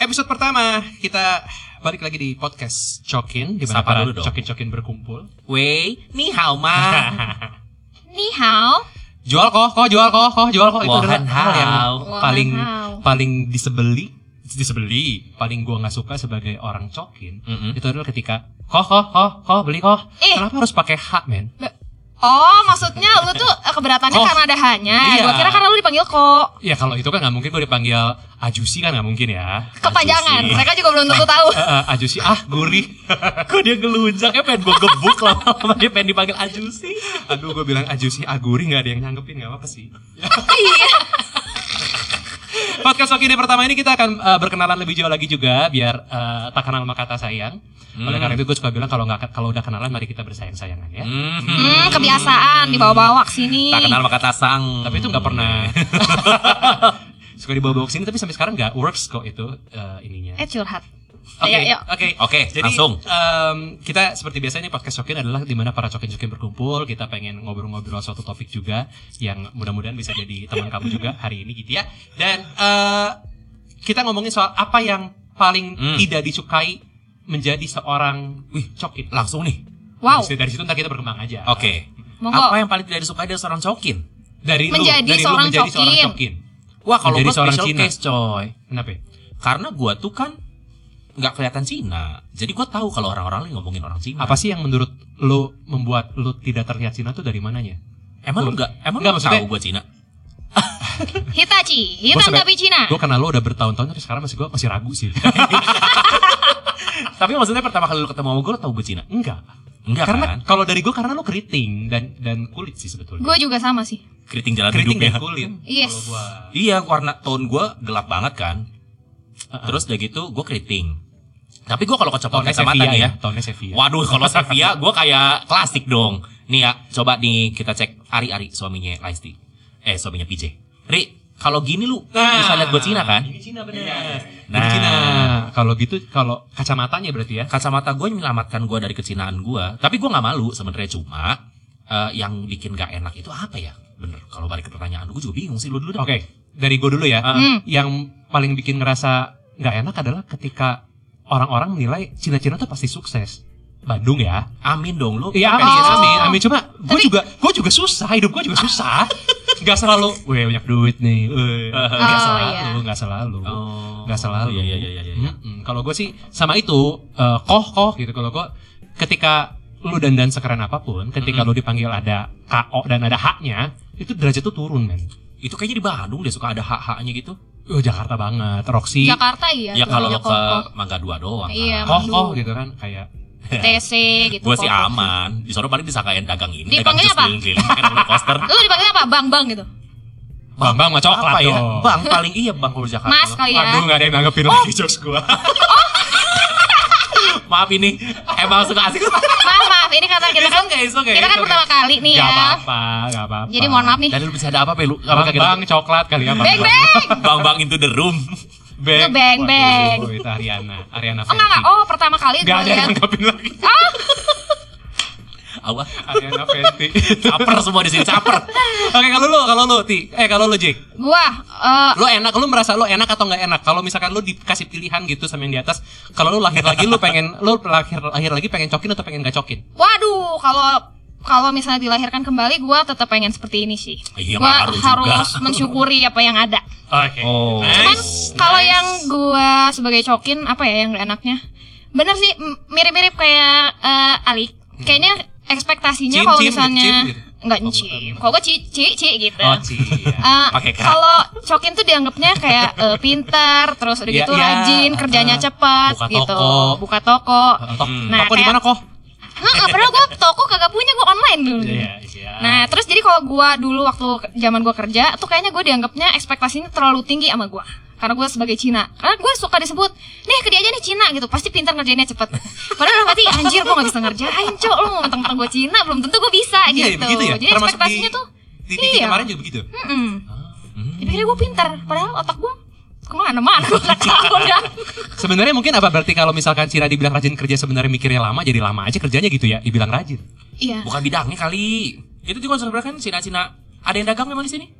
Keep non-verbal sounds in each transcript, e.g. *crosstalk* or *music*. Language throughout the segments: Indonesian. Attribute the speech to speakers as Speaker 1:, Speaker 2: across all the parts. Speaker 1: episode pertama kita balik lagi di podcast Cokin di mana
Speaker 2: Sapa
Speaker 1: para
Speaker 2: dulu dong.
Speaker 1: cokin-cokin berkumpul.
Speaker 2: Wei, ni hao ma.
Speaker 3: Ni hao.
Speaker 1: Jual kok, kok jual kok, kok jual kok itu adalah
Speaker 2: Wahan
Speaker 1: hal yang
Speaker 2: hao.
Speaker 1: paling
Speaker 3: Wahan hao.
Speaker 1: paling disebeli disebeli paling gua nggak suka sebagai orang cokin
Speaker 2: Mm-mm.
Speaker 1: itu adalah ketika kok kok kok kok beli kok
Speaker 3: Eh.
Speaker 1: kenapa harus pakai hak men
Speaker 3: Oh, maksudnya lu tuh eh, keberatannya
Speaker 2: Oh.
Speaker 1: Ko.
Speaker 3: karena ada hanya.
Speaker 1: Iya.
Speaker 3: Gua kira karena lu dipanggil kok.
Speaker 1: ya kalau itu kan nggak mungkin gue dipanggil ajusi kan nggak mungkin ya
Speaker 3: *laughs* Kepanjangan.
Speaker 2: Ajusi.
Speaker 3: Mereka juga belum tentu tahu.
Speaker 1: Eh, eh, ajusi ah gurih
Speaker 2: *laughs*
Speaker 1: *laughs*
Speaker 2: Kok dia gelunjaknya pengen gue gebuk lama-lama *laughs* dia pengen dipanggil ajusi.
Speaker 1: aduh gue bilang ajusi ah gurih nggak ada yang nyanggepin nggak apa-apa sih
Speaker 3: Iya.
Speaker 1: Podcast Oki Day pertama ini kita akan uh, berkenalan lebih jauh lagi juga biar uh, tak kenal maka tak sayang. Oleh karena itu gue suka bilang kalau nggak kalau udah kenalan mari kita bersayang-sayangan ya.
Speaker 2: Hmm.
Speaker 3: Hmm, kebiasaan dibawa-bawa ke sini.
Speaker 2: Tak kenal maka tak sang.
Speaker 1: Tapi itu nggak pernah *laughs* suka dibawa-bawa ke sini tapi sampai sekarang nggak works kok itu uh, ininya.
Speaker 3: Eh ya. curhat.
Speaker 1: Oke,
Speaker 3: Ayo, yuk.
Speaker 1: oke.
Speaker 2: Oke,
Speaker 1: Jadi
Speaker 2: langsung.
Speaker 1: em, kita seperti biasanya podcast Cokin adalah di mana para cokin-cokin berkumpul, kita pengen ngobrol-ngobrol suatu topik juga yang mudah-mudahan bisa jadi teman kamu
Speaker 2: *laughs*
Speaker 1: juga hari ini gitu ya. Dan eh, kita ngomongin soal apa yang paling
Speaker 2: Hmm.
Speaker 1: tidak disukai menjadi seorang wih cokin.
Speaker 2: Langsung nih.
Speaker 3: Wow.
Speaker 1: Dari- Dari situ ntar kita berkembang aja.
Speaker 2: Oke. Apa ya?
Speaker 3: Monggo.
Speaker 2: yang paling tidak disukai dari seorang cokin?
Speaker 1: Dari lu,
Speaker 3: Menjadi
Speaker 1: dari lu
Speaker 3: seorang
Speaker 1: menjadi seorang
Speaker 3: cokin.
Speaker 1: cokin.
Speaker 2: Wah, kalau
Speaker 1: Menjadi
Speaker 2: gue
Speaker 1: seorang
Speaker 2: special
Speaker 1: Cina.
Speaker 2: case coy.
Speaker 1: Kenapa? ya?
Speaker 2: Hmm. Karena gua tuh kan nggak kelihatan Cina. Jadi gua tahu kalau orang-orang lagi ngomongin orang Cina.
Speaker 1: Apa sih yang menurut lu membuat lu tidak terlihat Cina tuh dari mananya?
Speaker 2: Emang lu
Speaker 1: Gua-
Speaker 2: nggak? Emang
Speaker 1: Nggak,
Speaker 2: lu
Speaker 1: maksudnya-
Speaker 2: tahu gua Cina?
Speaker 3: Hitachi, hitam
Speaker 1: sampai-
Speaker 3: tapi Cina.
Speaker 1: Gue kenal lu udah bertahun-tahun tapi sekarang masih gue masih ragu
Speaker 2: *laughs*
Speaker 1: sih.
Speaker 2: *laughs* Tapi maksudnya pertama kali lu ketemu sama gue, lu tahu gue Cina?
Speaker 1: Enggak.
Speaker 2: Enggak
Speaker 1: karena
Speaker 2: kan?
Speaker 1: kalau dari gue karena lo keriting dan dan kulit sih sebetulnya.
Speaker 3: Gue juga sama sih.
Speaker 2: Keriting ya? jalan
Speaker 1: keriting
Speaker 2: hidupnya.
Speaker 1: dan kulit.
Speaker 3: Yes.
Speaker 1: Kalau gua
Speaker 2: Iya, warna tone gua gelap banget kan. Terus udah gitu gua keriting. Tapi gua kalau kecopot
Speaker 1: tonnya
Speaker 2: kacamata
Speaker 1: Sevilla
Speaker 2: nih
Speaker 1: ya,
Speaker 2: ya.
Speaker 1: tonnya Sevilla.
Speaker 2: Waduh,
Speaker 1: *laughs*
Speaker 2: kalau Sevilla gua kayak klasik dong. Nih ya, coba nih kita cek Ari-Ari suaminya Lesti. Eh, suaminya PJ. Ri, kalau gini lu bisa lihat gua Cina kan?
Speaker 1: Ini Cina benar. Nah,
Speaker 2: Nah.
Speaker 1: Cina. Kalau gitu kalau kacamatanya berarti ya.
Speaker 2: Kacamata gua menyelamatkan gua dari kecinaan gua. Tapi gua nggak malu sebenarnya cuma eh, yang bikin gak enak itu apa ya? Bener, kalau balik ke pertanyaan lu, gua juga bingung sih lu dulu
Speaker 1: Oke,
Speaker 2: dah.
Speaker 1: dari gue dulu ya.
Speaker 3: Hmm.
Speaker 1: Yang paling bikin ngerasa nggak enak adalah ketika orang-orang menilai Cina-Cina tuh pasti sukses. Bandung ya.
Speaker 2: Amin dong lu.
Speaker 1: Iya
Speaker 2: Kan
Speaker 1: amin,
Speaker 3: Oh.
Speaker 1: amin, amin. Cuma gue
Speaker 3: Tapi-
Speaker 1: juga gue juga susah, hidup gue juga
Speaker 3: *laughs*
Speaker 1: susah. Gak selalu, weh banyak duit nih. Weh. Gak
Speaker 3: Oh,
Speaker 1: selalu,
Speaker 3: iya.
Speaker 1: gak selalu.
Speaker 2: Eh. Oh.
Speaker 1: Gak selalu.
Speaker 2: Iya, iya, iya, iya, iya.
Speaker 1: Mm-mm. Kalau gue sih sama itu eh, koh koh gitu. Kalau gue ketika lu dandan sekeren apapun, ketika lu dipanggil ada KO dan ada haknya, itu derajat tuh turun men.
Speaker 2: Itu kayaknya di Bandung dia suka ada hak-haknya gitu.
Speaker 1: Oh, Jakarta banget, Roxy,
Speaker 3: Jakarta iya.
Speaker 2: Ya kalau lo
Speaker 3: Banyak
Speaker 2: ke
Speaker 3: kok.
Speaker 2: Mangga Dua doang.
Speaker 3: Iya.
Speaker 2: Kan.
Speaker 1: koh koh gitu kan kayak
Speaker 3: TC
Speaker 2: *laughs*
Speaker 3: gitu.
Speaker 2: Gue sih
Speaker 3: kok.
Speaker 2: aman. Di sana paling disangkain dagang ini, dagang
Speaker 3: Dipanggilnya
Speaker 2: jus
Speaker 3: apa?
Speaker 2: keliling-keliling, pakai roller coaster.
Speaker 3: Lu dipanggil apa? Bang-bang gitu.
Speaker 1: Bang Bang mah coklat
Speaker 2: Apa ya?
Speaker 1: dong.
Speaker 2: Bang paling iya Bang kalau di Jakarta.
Speaker 3: Mas kali ya.
Speaker 1: Aduh gak ada yang nanggepin lagi jokes gue.
Speaker 2: Maaf ini emang suka asik.
Speaker 3: Maaf, maaf. Ini karena kita
Speaker 1: *laughs*
Speaker 3: kan
Speaker 2: It's okay, it's okay,
Speaker 3: kita kan
Speaker 2: it's okay.
Speaker 3: pertama kali nih
Speaker 1: Gak
Speaker 3: ya.
Speaker 1: apa-apa, gak apa-apa.
Speaker 3: Jadi mohon maaf nih.
Speaker 2: Dan lu bisa ada apa, Pelu?
Speaker 1: Bang Bang coklat kali ya. Bang
Speaker 3: Bang
Speaker 2: *laughs*
Speaker 3: bang.
Speaker 2: Bang Bang into the room.
Speaker 1: Bang.
Speaker 3: Itu Bang
Speaker 1: Waduh,
Speaker 3: Bang.
Speaker 1: Itu Ariana, Ariana
Speaker 3: Oh enggak, enggak.
Speaker 1: Fenty.
Speaker 3: Oh, pertama kali gue
Speaker 1: Gak ada yang
Speaker 3: lihat.
Speaker 1: nanggepin lagi.
Speaker 2: Awah.
Speaker 1: Ariana *laughs* Fenty.
Speaker 2: Caper semua di sini, caper.
Speaker 1: Oke kalau lu kalau lu ti eh kalau lu Jake
Speaker 3: Gua eh,
Speaker 1: lu enak lu merasa lu enak atau nggak enak kalau misalkan lu dikasih pilihan gitu sama yang di atas kalau lu lahir lagi lu pengen lu lahir lahir lagi pengen cokin atau pengen gak cokin
Speaker 3: Waduh, kalau kalau misalnya dilahirkan kembali, gue tetap pengen seperti ini sih.
Speaker 2: Iya,
Speaker 3: Gua
Speaker 2: nggak harus
Speaker 3: harus
Speaker 2: juga.
Speaker 3: mensyukuri apa yang ada.
Speaker 1: oke
Speaker 2: Oh.
Speaker 3: Cuman
Speaker 2: Nice,
Speaker 3: kalau
Speaker 2: nice.
Speaker 3: yang gue sebagai cokin apa ya yang gak enaknya? Bener sih, m- mirip-mirip kayak eh, Ali. Kayaknya ekspektasinya
Speaker 1: Cim,
Speaker 3: kalau
Speaker 1: cim,
Speaker 3: misalnya
Speaker 1: cim, gitu.
Speaker 3: nggak
Speaker 1: Oh,
Speaker 3: cim. Kalau gue ci ci ci gitu.
Speaker 1: oh ci ya.
Speaker 3: Eh,
Speaker 2: Pakai K.
Speaker 3: kalau cokin tuh dianggapnya kayak eh, pintar, terus udah
Speaker 1: Iya,
Speaker 3: gitu
Speaker 1: iya.
Speaker 3: rajin, kerjanya cepat,
Speaker 1: Buka
Speaker 3: gitu,
Speaker 1: toko.
Speaker 3: buka toko.
Speaker 1: Tok,
Speaker 3: Nah, kan.
Speaker 1: toko di
Speaker 3: kayak-
Speaker 1: mana koh
Speaker 3: Hah, padahal gue toko kagak punya, gue online dulu.
Speaker 1: iya
Speaker 3: Nah, terus jadi kalau gua dulu waktu ke- zaman gua kerja, tuh kayaknya gua dianggapnya ekspektasinya terlalu tinggi sama gua. Karena gua sebagai Cina. Karena gua suka disebut, nih kerja aja nih Cina gitu, pasti pintar ngerjainnya cepet. Padahal dalam hati, anjir gua gak bisa ngerjain, cok, lu mau mentang-mentang gua Cina, belum tentu gua bisa
Speaker 1: iya
Speaker 3: gitu.
Speaker 1: begitu ya
Speaker 3: Jadi
Speaker 1: Termasuk di- Ah,
Speaker 3: ekspektasinya tuh,
Speaker 1: di titik
Speaker 3: iya.
Speaker 1: kemarin juga begitu
Speaker 3: mm
Speaker 2: Hmm.
Speaker 3: Dipikirnya gua pintar, padahal otak gua kemana-mana, gua gak tau
Speaker 1: *laughs*
Speaker 3: dah.
Speaker 1: sebenarnya mungkin apa berarti kalau misalkan Cina dibilang rajin kerja sebenarnya mikirnya lama jadi lama aja kerjanya gitu ya dibilang rajin
Speaker 3: Iya.
Speaker 2: Bukan bidangnya kali. Itu juga sebenarnya kan Cina-Cina. Ada yang dagang memang di sini?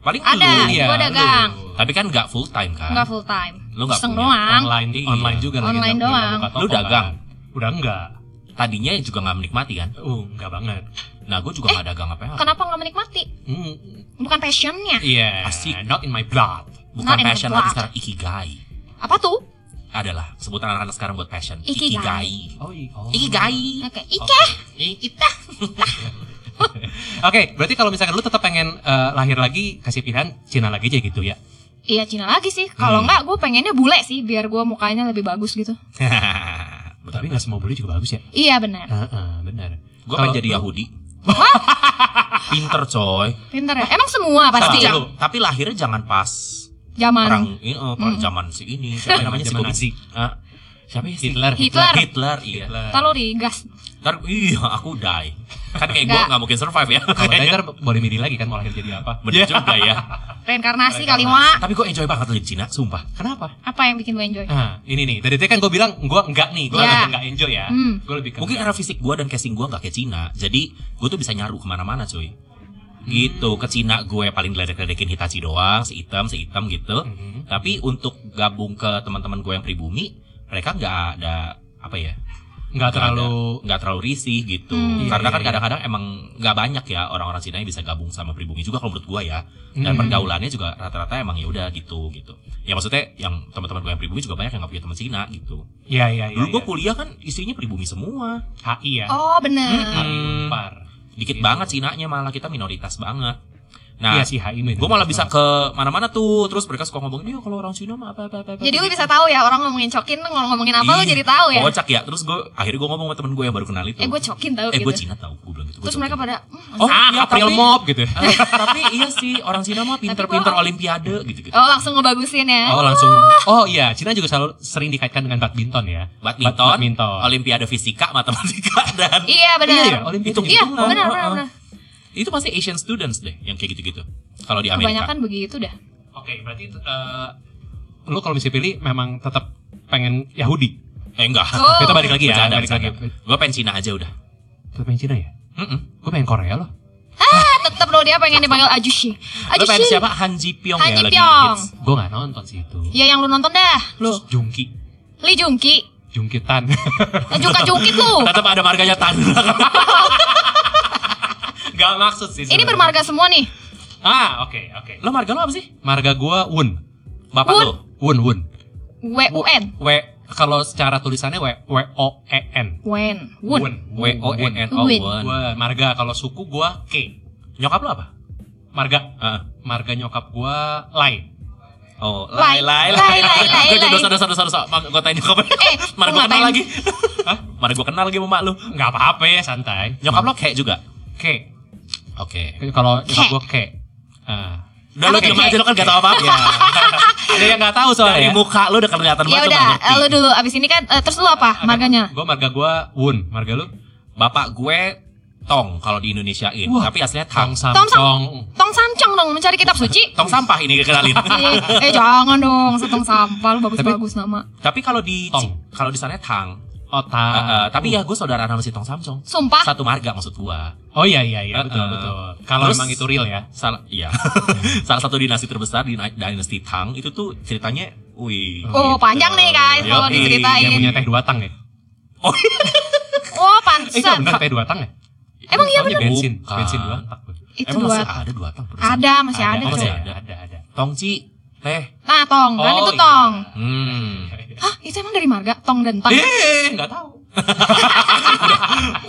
Speaker 2: Paling
Speaker 3: Ada,
Speaker 2: lu
Speaker 1: Iya,
Speaker 3: gua ada
Speaker 1: lu.
Speaker 3: gang.
Speaker 2: Tapi kan nggak full time kan?
Speaker 3: Enggak full time.
Speaker 2: Lu nggak
Speaker 3: Iseng
Speaker 2: punya
Speaker 3: doang.
Speaker 1: Online,
Speaker 2: Iya.
Speaker 1: online juga lagi.
Speaker 3: Online
Speaker 1: nggak- nggak
Speaker 3: doang.
Speaker 1: buka toko
Speaker 2: Lu dagang?
Speaker 1: kan. Udah enggak.
Speaker 2: Tadinya juga nggak menikmati kan?
Speaker 1: Uh, enggak banget.
Speaker 2: Nah, gue
Speaker 1: Eh,
Speaker 2: juga nggak dagang apa apa.
Speaker 3: Kenapa nggak menikmati?
Speaker 1: Hmm,
Speaker 3: Bukan passionnya.
Speaker 1: Iya,
Speaker 2: Asik.
Speaker 1: not in my blood.
Speaker 2: Bukan
Speaker 3: Not in the
Speaker 2: passion lagi
Speaker 3: blood.
Speaker 2: sekarang ikigai.
Speaker 3: Apa tuh?
Speaker 2: Adalah sebutan anak-anak sekarang buat passion.
Speaker 3: Ikigai.
Speaker 1: Oh, Eh. iya. Oh.
Speaker 2: Ikigai.
Speaker 3: Oke, Ya, Ike.
Speaker 2: *laughs* Oh.
Speaker 1: Oke,
Speaker 3: Ita.
Speaker 1: berarti kalau misalkan lu tetap pengen eh, lahir lagi kasih pilihan Cina lagi aja gitu ya.
Speaker 3: Iya Cina lagi sih. Kalau
Speaker 1: Hmm.
Speaker 3: nggak, gue pengennya bule sih, biar gue mukanya lebih bagus gitu.
Speaker 1: Tapi nggak semua bule juga bagus ya.
Speaker 3: Iya benar.
Speaker 1: Heeh, benar.
Speaker 2: Gue
Speaker 1: Kalau-
Speaker 2: pengen jadi Yahudi. *laughs* Pinter coy.
Speaker 3: Pinter ya. Emang semua pasti.
Speaker 2: Tapi, tapi lahirnya jangan pas orang
Speaker 3: Zaman.
Speaker 2: ini, eh, orang zaman si ini. Siapa namanya
Speaker 1: Hmm. *laughs*
Speaker 2: si
Speaker 1: Zaman
Speaker 2: Bobby?
Speaker 1: Nazi.
Speaker 2: Ah, siapa ya? si-
Speaker 1: Hitler.
Speaker 3: Hitler.
Speaker 2: Hitler, iya.
Speaker 3: Kalau di gas.
Speaker 2: Ntar, iya aku die. Kan kayak gue
Speaker 3: Nggak.
Speaker 2: nggak mungkin survive ya.
Speaker 1: Kalau dia ntar boleh milih lagi kan mau lahir jadi apa? *laughs*
Speaker 2: Bener juga ya.
Speaker 3: Reinkarnasi kali
Speaker 1: Reinkarnasi.
Speaker 3: Wak.
Speaker 2: Tapi gue enjoy banget loh di Cina, sumpah.
Speaker 1: Kenapa?
Speaker 3: Apa yang bikin gue enjoy?
Speaker 1: Nah, ini nih. Tadi tadi kan gue bilang gue enggak nih, gue
Speaker 3: Iya.
Speaker 1: lebih enggak enjoy ya.
Speaker 3: Hmm.
Speaker 1: Gue lebih ke
Speaker 2: Mungkin
Speaker 1: enggak.
Speaker 2: karena fisik gue dan casing gue nggak kayak Cina, jadi gue tuh bisa nyaru kemana-mana cuy. Gitu, ke Cina gue paling diledek-ledekin Hitachi doang, si hitam, si hitam gitu.
Speaker 1: Mhm.
Speaker 2: Tapi untuk gabung ke teman-teman gue yang pribumi, mereka nggak ada apa ya?
Speaker 1: Nggak
Speaker 2: nggak
Speaker 1: terlalu
Speaker 2: ada- nggak terlalu risih gitu.
Speaker 3: Hmm.
Speaker 2: Karena kan
Speaker 1: Iya, iya,
Speaker 2: kadang-kadang emang nggak banyak ya orang-orang Cina yang bisa gabung sama pribumi juga kalau menurut gue ya. Dan
Speaker 1: Hmm.
Speaker 2: pergaulannya juga rata-rata emang ya udah gitu gitu. Ya maksudnya yang teman-teman gue yang pribumi juga banyak yang nggak punya teman Cina gitu.
Speaker 1: Iya, iya, iya.
Speaker 2: Dulu gue
Speaker 1: iya.
Speaker 2: kuliah kan isinya pribumi semua.
Speaker 1: HI ya.
Speaker 3: Oh benar.
Speaker 1: Hmm.
Speaker 2: Dikit
Speaker 1: Gitu.
Speaker 2: banget Cinanya malah kita minoritas banget. Nah,
Speaker 1: Iya sih HI
Speaker 2: gue malah bisa ke mana-mana tuh. Terus mereka suka ngomongin, "Iya, kalau orang Cina mah apa apa apa." apa."
Speaker 3: Jadi lu bisa tahu ya orang ngomongin cokin, ngomong ngomongin apa lu
Speaker 2: Ih,
Speaker 3: jadi tahu ya.
Speaker 2: Kocak ya. Terus gue akhirnya gue ngomong sama temen gue yang baru kenal itu.
Speaker 3: Eh gue cokin tahu
Speaker 2: eh gue
Speaker 3: gitu.
Speaker 2: Cina tahu, gue bilang gitu. "Gua
Speaker 3: Terus mereka
Speaker 2: cokin."
Speaker 3: pada "Hmm,
Speaker 2: Oh,
Speaker 1: ah,
Speaker 2: iya,
Speaker 1: April
Speaker 2: tapi-
Speaker 1: Mop gitu.
Speaker 2: Eh, *laughs* tapi iya sih orang Cina mah pinter-pinter
Speaker 3: Tapi gua-
Speaker 2: olimpiade gitu gitu-gitu.
Speaker 3: Oh langsung ngebagusin ya.
Speaker 1: Oh, langsung. Oh iya, Cina juga selalu sering dikaitkan dengan badminton ya.
Speaker 2: Badminton,
Speaker 1: Bad- badminton.
Speaker 2: olimpiade fisika, matematika *laughs* dan
Speaker 3: Iya
Speaker 1: Iya, ya,
Speaker 3: benar.
Speaker 1: Olimpiade.
Speaker 2: Itu-
Speaker 3: Iya
Speaker 2: Hitungan,
Speaker 3: benar benar.
Speaker 2: heeh.
Speaker 3: benar.
Speaker 2: itu pasti Asian students deh yang kayak gitu-gitu. Kalau di Amerika.
Speaker 3: Kebanyakan begitu dah.
Speaker 1: Oke, berarti eh, lu kalau bisa pilih memang tetap pengen Yahudi.
Speaker 2: Eh enggak.
Speaker 3: Oh.
Speaker 1: Kita balik lagi ya,
Speaker 2: Bercanda,
Speaker 1: balik lagi.
Speaker 2: bercanda. Gue pengen Cina aja udah.
Speaker 1: Tetap pengen Cina ya?
Speaker 2: Mm-mm.
Speaker 1: Gue pengen Korea loh.
Speaker 3: Ah tetap lo dia pengen dipanggil Ajushi.
Speaker 2: Lo pengen
Speaker 3: Ajushi.
Speaker 2: siapa? Han Ji Pyong
Speaker 3: Han
Speaker 2: ya
Speaker 3: Ji
Speaker 2: lagi
Speaker 3: Pyong.
Speaker 2: hits.
Speaker 1: Gue nggak nonton sih itu.
Speaker 3: Ya yang lu nonton dah. Lu
Speaker 1: Terus Jungki,
Speaker 3: Lee Jungki.
Speaker 1: Jungkitan. *laughs*
Speaker 3: Jungka jungkit
Speaker 2: *laughs*
Speaker 3: lu.
Speaker 2: Tetap ada marganya
Speaker 3: *laughs*
Speaker 2: Tan.
Speaker 1: Gak maksud sih.
Speaker 3: Ini
Speaker 1: sebenarnya.
Speaker 3: bermarga semua nih.
Speaker 1: Ah, oke, oke.
Speaker 2: Lo marga lo apa sih?
Speaker 1: Marga gua Wun.
Speaker 2: Bapak
Speaker 3: Wun.
Speaker 2: lo.
Speaker 1: Wun, Wun.
Speaker 3: W Eh, U N.
Speaker 1: W kalau secara tulisannya W W O E N.
Speaker 3: Wen. Wun.
Speaker 2: W O N N O
Speaker 3: Wun.
Speaker 2: Wun.
Speaker 1: E Gua marga kalau suku gua K.
Speaker 2: Nyokap lo apa?
Speaker 1: Marga
Speaker 2: Ah.
Speaker 1: marga nyokap gua Lai.
Speaker 2: Oh,
Speaker 3: Lai,
Speaker 2: lai,
Speaker 3: lai, lai, lai,
Speaker 2: Gua jadi
Speaker 3: lai.
Speaker 2: dosa, dosa, dosa, dosa. Mak, gua tanya nyokap.
Speaker 3: Eh,
Speaker 2: *laughs* mana
Speaker 3: lu
Speaker 2: gua kenal
Speaker 3: ngapain?
Speaker 2: lagi. Hah? Mana gua kenal lagi sama mak lu.
Speaker 1: Nggak apa-apa ya, santai.
Speaker 2: Nyokap lo kayak juga.
Speaker 1: K.
Speaker 2: Oke.
Speaker 1: Kalau nyokap gua K. Ah.
Speaker 2: Udah lu
Speaker 3: Apa tuh
Speaker 2: diem
Speaker 3: kayak? Oh,
Speaker 2: aja lo kan gak tau
Speaker 3: *laughs*
Speaker 2: apa-apa.
Speaker 1: Ada yang nggak tahu
Speaker 2: *laughs* Dari
Speaker 1: soalnya.
Speaker 2: muka lu udah kelihatan
Speaker 3: Ya
Speaker 2: banget lu
Speaker 3: udah,
Speaker 2: nggak ngerti.
Speaker 3: lu dulu abis ini kan eh, terus lu
Speaker 2: Ah,
Speaker 3: apa marganya?
Speaker 1: Gua marga gua Wun, marga lu?
Speaker 2: Bapak gue tong kalau di Indonesiain,
Speaker 1: Wah.
Speaker 2: tapi aslinya
Speaker 1: Kang
Speaker 2: tang.
Speaker 1: Samsung.
Speaker 3: Tong Samcong dong mencari kitab
Speaker 2: *laughs*
Speaker 3: suci.
Speaker 2: Tong sampah ini kenalin.
Speaker 3: eh, eh, jangan dong, setong sampah lu bagus-bagus nama.
Speaker 2: tapi kalau di
Speaker 1: Tong.
Speaker 2: kalau di sana tang.
Speaker 1: Oh,
Speaker 2: Eh, eh,
Speaker 1: Otak.
Speaker 3: Hmm.
Speaker 2: tapi ya gue saudara sama si Tong Samsung.
Speaker 3: Sumpah.
Speaker 2: Satu marga maksud gua.
Speaker 1: Oh iya iya iya,
Speaker 2: Eh,
Speaker 1: betul
Speaker 2: eh.
Speaker 1: betul. Kalau
Speaker 2: Terus-
Speaker 1: memang itu real ya.
Speaker 2: Salah
Speaker 3: *laughs*
Speaker 2: iya. Salah satu dinasti terbesar di dinasti Tang itu tuh ceritanya wih.
Speaker 3: Oh,
Speaker 2: gitu.
Speaker 3: panjang nih, guys, kalau
Speaker 2: Yoi.
Speaker 3: diceritain.
Speaker 1: Yang punya teh dua tang ya.
Speaker 2: Oh,
Speaker 3: Oh,
Speaker 1: Eh, enggak
Speaker 3: pantesan.
Speaker 1: bener teh dua tang ya?
Speaker 3: Emang iya
Speaker 1: Soalnya
Speaker 2: bener.
Speaker 1: Bensin,
Speaker 2: Bukan.
Speaker 1: bensin dua tang.
Speaker 3: Itu
Speaker 2: emang
Speaker 3: dua.
Speaker 2: masih ada dua tang perusahaan?
Speaker 3: Ada, masih ada,
Speaker 2: Ada,
Speaker 3: cuy.
Speaker 2: masih
Speaker 1: ada,
Speaker 2: ada.
Speaker 1: ada, ada.
Speaker 2: Tongci, teh.
Speaker 3: Nah, tong, kan
Speaker 1: Oh,
Speaker 3: itu
Speaker 1: iya.
Speaker 3: tong.
Speaker 2: Hmm.
Speaker 3: Hah, itu emang dari marga? Tong dan tang.
Speaker 2: Eh, nggak
Speaker 1: Enggak tahu.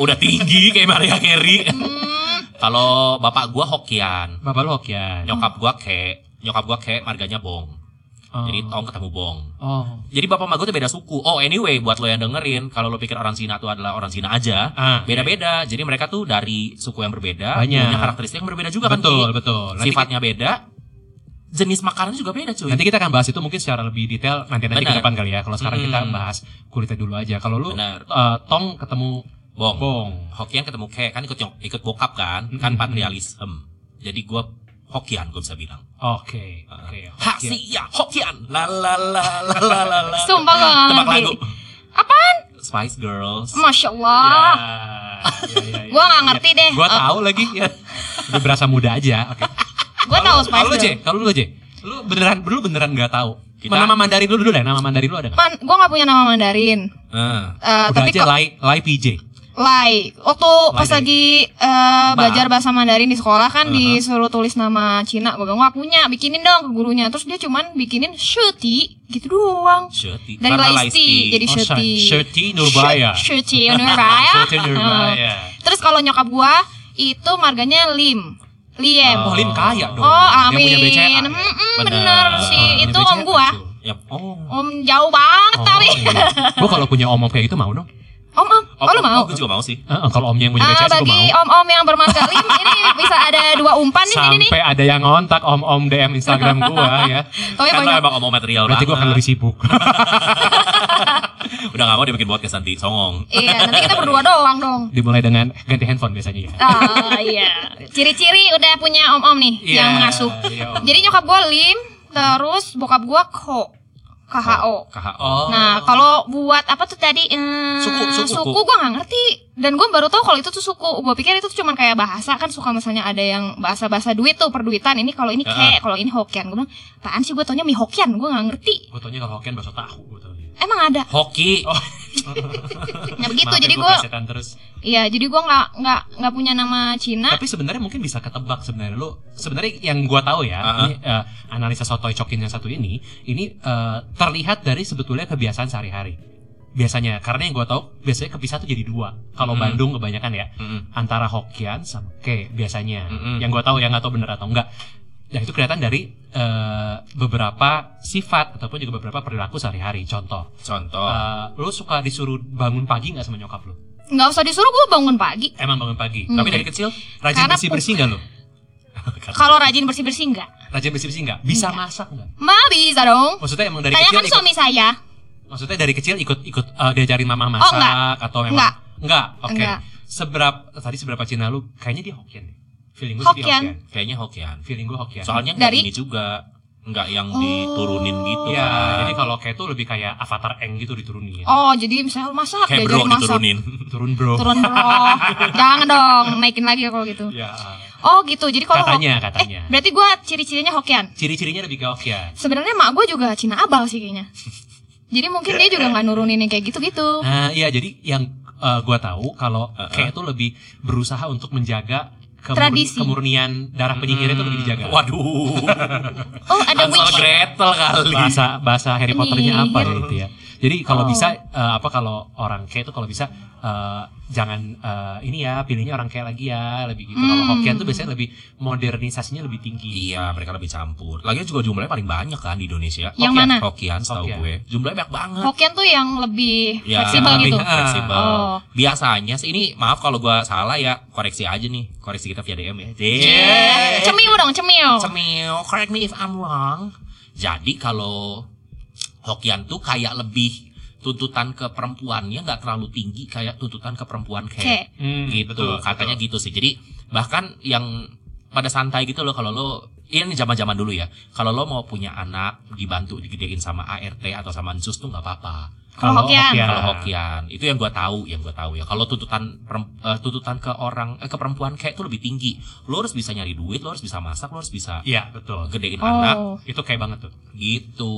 Speaker 2: udah tinggi kayak Maria Carey.
Speaker 3: Hmm,
Speaker 2: Kalau bapak gua Hokian,
Speaker 1: Bapak lu ya? Hokian.
Speaker 2: nyokap gua ke, nyokap gua ke marganya Bong.
Speaker 1: Oh.
Speaker 2: Jadi Tong ketemu Bong.
Speaker 1: Oh.
Speaker 2: Jadi bapak sama gua tuh beda suku. Oh anyway, buat lo yang dengerin, kalau lo pikir orang Cina tuh adalah orang Cina aja,
Speaker 1: Ah,
Speaker 2: beda-beda. Jadi mereka tuh dari suku yang berbeda,
Speaker 1: Banyak.
Speaker 2: punya karakteristik yang berbeda juga
Speaker 1: betul,
Speaker 2: kan. Ki?
Speaker 1: betul. Nanti,
Speaker 2: Sifatnya beda, jenis makanannya juga beda cuy.
Speaker 1: nanti kita akan bahas itu mungkin secara lebih detail nanti nanti ke
Speaker 2: Benar.
Speaker 1: depan kali ya. Kalau sekarang kita
Speaker 2: Mm-mm.
Speaker 1: bahas kulitnya dulu aja. Kalau lu
Speaker 2: Benar.
Speaker 1: eh, tong ketemu
Speaker 2: Bong.
Speaker 1: bong.
Speaker 2: Hokian ketemu ke kan ikut nyok- ikut bokap kan, kan
Speaker 1: Mm-mm.
Speaker 2: patrialisme. Jadi gua Hokian gua bisa bilang.
Speaker 1: Oke, oke.
Speaker 2: Ha si ya Hokian. La la la la la la. la.
Speaker 3: *laughs* Sumpah gua nggak
Speaker 2: Tebak
Speaker 3: ngerti.
Speaker 2: lagu.
Speaker 3: Apaan?
Speaker 2: Spice Girls.
Speaker 3: Masya Allah.
Speaker 1: Ya, ya, ya, ya.
Speaker 3: Ah. Gua nggak ngerti deh.
Speaker 1: Gua
Speaker 3: Eh,
Speaker 1: tahu lagi ya. Udah berasa muda aja. Oke.
Speaker 3: Gue tahu
Speaker 1: Kalau-
Speaker 3: Spice
Speaker 1: Kalau lu
Speaker 3: Girl.
Speaker 1: J, kalau lu J, lu beneran, lu beneran nggak tahu.
Speaker 2: Kita-
Speaker 1: Nama Mandarin lu dulu deh, nama Mandarin lu ada nggak?
Speaker 3: Man, gue nggak punya nama Mandarin.
Speaker 2: Eh,
Speaker 3: Eh,
Speaker 1: Udah
Speaker 3: tapi
Speaker 1: aja
Speaker 3: kok
Speaker 1: Lai, Lai PJ.
Speaker 3: Lai. Waktu pas
Speaker 1: dari-
Speaker 3: lagi eh, belajar bahasa Mandarin di sekolah kan disuruh tulis nama Cina. Gue bilang nggak punya, bikinin dong ke gurunya. Terus dia cuman bikinin Shuti gitu doang.
Speaker 2: Shirty.
Speaker 3: Dari
Speaker 2: Karena
Speaker 3: Laisti, jadi
Speaker 1: Oh,
Speaker 3: Shuti.
Speaker 1: Shuti Nurbaya.
Speaker 3: Shuti Nurbaya.
Speaker 1: ah, iya. *laughs* Shuti iya. Nurbaya.
Speaker 3: Terus kalau nyokap gua itu marganya Lim. Liem.
Speaker 1: Oh, Lin kaya dong.
Speaker 3: Oh,
Speaker 1: Dia punya
Speaker 3: amin. Mm,
Speaker 1: BCA. Iya,
Speaker 3: Mm-mm,
Speaker 2: Bener.
Speaker 3: bener sih.
Speaker 1: Ah,
Speaker 3: itu
Speaker 1: BCA
Speaker 3: om gua.
Speaker 1: tuh.
Speaker 2: Yap. Oh.
Speaker 3: Om jauh banget
Speaker 1: Oh,
Speaker 3: tapi.
Speaker 1: iya. Gua kalau punya om-om kayak gitu mau dong.
Speaker 3: *laughs* Om om, oh, lu mau?
Speaker 2: Gue juga mau sih.
Speaker 1: Eh, eh, kalau omnya yang punya
Speaker 3: Ah,
Speaker 1: BCA sih gua
Speaker 3: bagi
Speaker 1: mau.
Speaker 3: om-om yang bermasker Lim ini bisa ada dua umpan nih sini nih.
Speaker 1: Sampai ada yang ngontak om-om DM Instagram gua ya.
Speaker 3: *laughs*
Speaker 2: kan lo
Speaker 3: Tapi Oh, iya, banyak.
Speaker 2: emang ngomong material
Speaker 1: Berarti gua akan
Speaker 2: banget.
Speaker 1: lebih
Speaker 3: *laughs*
Speaker 1: sibuk.
Speaker 2: Udah gak mau dia bikin podcast nanti, songong.
Speaker 3: Iya, nanti kita berdua doang dong.
Speaker 1: Dimulai dengan ganti handphone biasanya ya.
Speaker 3: Ah, iya. Ciri-ciri udah punya om-om nih
Speaker 1: Iya,
Speaker 3: yang mengasuh.
Speaker 1: iya, om.
Speaker 3: Jadi nyokap gua Lim, terus bokap gua Ko. KHO.
Speaker 2: KHO.
Speaker 3: Nah, kalau buat apa tuh tadi eh,
Speaker 2: Suku, suku, suku.
Speaker 3: gua nggak ngerti dan gua baru tahu kalau itu tuh suku. Gua pikir itu tuh cuman kayak bahasa kan suka misalnya ada yang bahasa-bahasa duit tuh perduitan. Ini kalau ini
Speaker 2: Ya.
Speaker 3: ke, kalau ini Hokian. Gua bilang, "Apaan sih gua taunya mie Hokian? Gua nggak ngerti."
Speaker 1: Gua taunya kalau Hokkien bakso tahu gitu. gua taunya.
Speaker 3: Emang ada.
Speaker 2: Hoki.
Speaker 3: Nah, begitu.
Speaker 1: Maaf ya,
Speaker 3: jadi
Speaker 1: gua
Speaker 3: gua
Speaker 1: plesetan terus.
Speaker 3: iya, jadi gua nggak nggak nggak punya nama Cina.
Speaker 1: Tapi sebenarnya mungkin bisa ketebak sebenarnya lo. Sebenarnya yang gua tahu
Speaker 3: Ah,
Speaker 1: ya,
Speaker 2: Aha.
Speaker 1: ini, eh, analisa sotoy cokin yang satu ini, ini eh, terlihat dari sebetulnya kebiasaan sehari-hari. Biasanya karena yang gua tahu biasanya kepisah tuh jadi dua. Kalau
Speaker 2: Hmm.
Speaker 1: Bandung kebanyakan ya
Speaker 2: Mm-mm.
Speaker 1: antara Hokian sama Ke biasanya.
Speaker 2: Mm-mm.
Speaker 1: Yang gua tahu yang nggak tahu bener atau enggak. Nah itu kelihatan dari eh, beberapa sifat ataupun juga beberapa perilaku sehari-hari. Contoh,
Speaker 3: Oh.
Speaker 2: Contoh.
Speaker 1: eh, lo suka disuruh bangun pagi nggak sama nyokap lo?
Speaker 3: Nggak usah disuruh gua bangun pagi.
Speaker 1: Emang bangun pagi.
Speaker 3: Hmm.
Speaker 1: Tapi dari kecil rajin
Speaker 3: Karena
Speaker 1: bersih bersih nggak lo?
Speaker 3: Kalau rajin bersih-bersih nggak?
Speaker 1: Rajin bersih-bersih nggak? Bisa masak nggak?
Speaker 3: Ma bisa dong.
Speaker 1: Maksudnya emang dari kecil
Speaker 3: Tanyakan
Speaker 1: ikut,
Speaker 3: kan suami saya.
Speaker 1: maksudnya dari kecil ikut-ikut eh, diajarin mama masak
Speaker 3: Oh, enggak.
Speaker 1: atau memang
Speaker 3: Enggak.
Speaker 1: Enggak. Oke.
Speaker 3: Enggak.
Speaker 1: Seberapa tadi seberapa Cina lu? Kayaknya dia Hokkien deh. Feeling gue sih dia
Speaker 3: Hokkien.
Speaker 1: Hokkien.
Speaker 2: Kayaknya Hokian.
Speaker 1: Feeling gue Hokkien.
Speaker 2: Soalnya nggak
Speaker 3: Dari-
Speaker 2: ini juga. Nggak yang
Speaker 3: Oh.
Speaker 2: diturunin gitu
Speaker 1: ya,
Speaker 2: kan.
Speaker 1: jadi kalau kayak itu lebih kayak avatar Eng gitu diturunin.
Speaker 3: Oh, jadi misalnya masak,
Speaker 2: Kayak bro
Speaker 1: gitu,
Speaker 3: diajarin masak.
Speaker 2: diturunin.
Speaker 1: *laughs* Turun bro.
Speaker 3: turun bro jangan dong naikin lagi kalau gitu
Speaker 1: Ya.
Speaker 3: oh gitu jadi kalau
Speaker 1: Katanya,
Speaker 3: Hok-
Speaker 1: katanya.
Speaker 3: eh, berarti gua ciri-cirinya Hokian
Speaker 1: Ciri-cirinya lebih ke Hokkien.
Speaker 3: sebenarnya mak gua juga Cina abal sih kayaknya jadi mungkin dia juga nggak nurunin yang kayak gitu gitu
Speaker 1: Nah, iya jadi yang eh, gua tahu kalau
Speaker 2: Uh-uh.
Speaker 1: kayak itu lebih berusaha untuk menjaga kemur-
Speaker 3: Tradisi.
Speaker 1: kemurnian darah penyihirnya itu lebih dijaga.
Speaker 2: Hmm. Waduh.
Speaker 3: oh ada
Speaker 2: Hansel
Speaker 3: witch
Speaker 2: Gretel kali.
Speaker 1: bahasa bahasa Harry Potternya apa ya
Speaker 3: Penyihir.
Speaker 1: itu ya. Jadi kalau
Speaker 3: Oh.
Speaker 1: bisa eh, apa kalau orang kayak itu kalau bisa eh, jangan eh, ini ya pilihnya orang kayak lagi ya lebih gitu. Kalau
Speaker 3: Hmm.
Speaker 1: Hokkien tuh biasanya lebih modernisasinya lebih tinggi.
Speaker 2: Iya, mereka lebih campur. Lagian juga jumlahnya paling banyak kan di Indonesia.
Speaker 3: Yang
Speaker 2: Hokian,
Speaker 3: mana?
Speaker 2: Hokian, setahu
Speaker 1: Hokian.
Speaker 2: gue. Jumlahnya banyak banget.
Speaker 3: Hokian tuh yang lebih
Speaker 2: Ya,
Speaker 3: fleksibel
Speaker 1: lebih- *laughs*
Speaker 3: gitu
Speaker 1: Ah.
Speaker 2: *laughs* fleksibel.
Speaker 3: Oh.
Speaker 2: Biasanya sih ini maaf kalau gua salah ya, koreksi aja nih. Koreksi kita via DM ya.
Speaker 3: Iya. cemil dong cemil
Speaker 2: Cemil, correct me if I'm wrong. Jadi kalau Hokian tuh kayak lebih tuntutan ke perempuannya nggak terlalu tinggi kayak tuntutan ke perempuan kayak
Speaker 3: Oke.
Speaker 1: Hmm,
Speaker 2: gitu
Speaker 1: betul,
Speaker 2: katanya
Speaker 1: betul.
Speaker 2: gitu sih jadi bahkan yang pada santai gitu loh kalau lo ini zaman zaman dulu ya kalau lo mau punya anak dibantu digedein sama ART atau sama Ansus tuh nggak apa-apa
Speaker 3: Kalau Hokkien.
Speaker 1: Hokkien.
Speaker 2: kalau Hokian itu yang gua tahu yang gua tahu ya kalau tuntutan perem- eh, tuntutan ke orang eh, ke perempuan kayak itu lebih tinggi lo harus bisa nyari duit lo harus bisa masak lo harus bisa
Speaker 1: Iya, betul.
Speaker 2: gedein anak
Speaker 3: oh
Speaker 1: Itu kayak banget tuh.
Speaker 2: gitu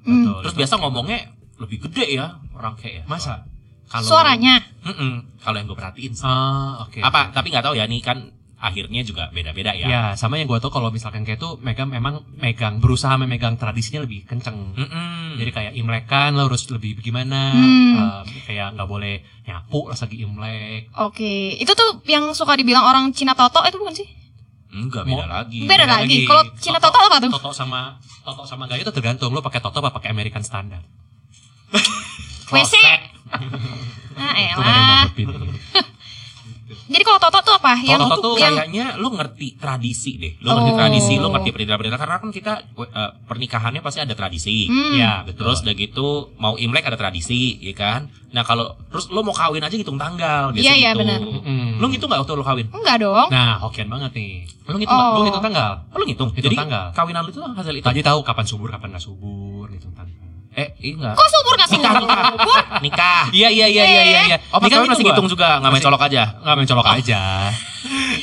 Speaker 3: Hmm.
Speaker 1: Betul.
Speaker 2: terus biasa ngomongnya lebih gede ya orang kayak ya
Speaker 1: masa?
Speaker 2: kalau
Speaker 3: suaranya
Speaker 2: Mm-mm. kalau yang gue perhatiin sih.
Speaker 1: Ah, oke.
Speaker 2: apa tapi nggak tahu ya ini kan akhirnya juga beda-beda
Speaker 1: Ya.
Speaker 3: Iya.
Speaker 2: ya
Speaker 1: sama yang gua tau kalau misalkan kayak itu mereka memang megang berusaha memegang tradisinya lebih kenceng.
Speaker 2: Mm-mm.
Speaker 1: Jadi kayak imlekan lo harus lebih gimana,
Speaker 3: Hmm.
Speaker 1: em, kayak nggak boleh nyapu pas lagi imlek,
Speaker 3: oke itu tuh yang suka dibilang orang Cina Toto itu bukan sih
Speaker 2: nggak beda
Speaker 1: Mau-
Speaker 2: lagi
Speaker 3: beda
Speaker 1: beda lagi.
Speaker 3: lagi kalau Cina
Speaker 1: Toto.
Speaker 3: Toto apa tuh
Speaker 1: Toto sama Toto sama gaya itu tergantung lo pakai Toto apa pakai American
Speaker 3: *laughs*
Speaker 1: Standard. *laughs*
Speaker 3: WC ah
Speaker 1: Itu ada yang
Speaker 3: elah
Speaker 1: nanggepin.
Speaker 3: Hmm. jadi kalau Toto tuh apa yang
Speaker 1: Toto tuh
Speaker 3: yang
Speaker 2: kayaknya lo ngerti tradisi deh lo ngerti
Speaker 3: Oh.
Speaker 2: tradisi lo ngerti perintah-perintah karena kan kita eh, pernikahannya pasti ada tradisi Nah,
Speaker 3: Hmm.
Speaker 1: Iya, betul.
Speaker 2: Terus udah gitu mau Imlek ada tradisi, ya kan? Nah kalau terus lo mau kawin aja hitung tanggal, biasa
Speaker 3: Iya, iya,
Speaker 2: gitu.
Speaker 3: benar.
Speaker 1: Mm-mm.
Speaker 2: Lo ngitung nggak waktu lo kawin?
Speaker 3: enggak dong
Speaker 1: Nah, Hokian banget nih.
Speaker 2: Lo ngitung nggak?
Speaker 1: Lo
Speaker 3: Oh.
Speaker 1: ngitung tanggal.
Speaker 2: Lo ngitung.
Speaker 1: Hitung
Speaker 2: Jadi
Speaker 1: tanggal.
Speaker 2: kawinan lo itu hasil itu.
Speaker 1: Tadi tahu kapan subur, kapan nggak subur, ngitung tanggal.
Speaker 2: Eh Ih, enggak.
Speaker 3: Kok subur gak subur?
Speaker 2: Nikah, nikah. *laughs* Nikah.
Speaker 1: Iya iya iya iya iya. iya.
Speaker 2: Oh, mas
Speaker 1: Nikah
Speaker 2: kawin masih
Speaker 1: gitu
Speaker 2: ngitung
Speaker 1: gua.
Speaker 2: juga, nggak main
Speaker 1: Masih- Ah.
Speaker 2: colok aja.
Speaker 1: Nggak main colok aja.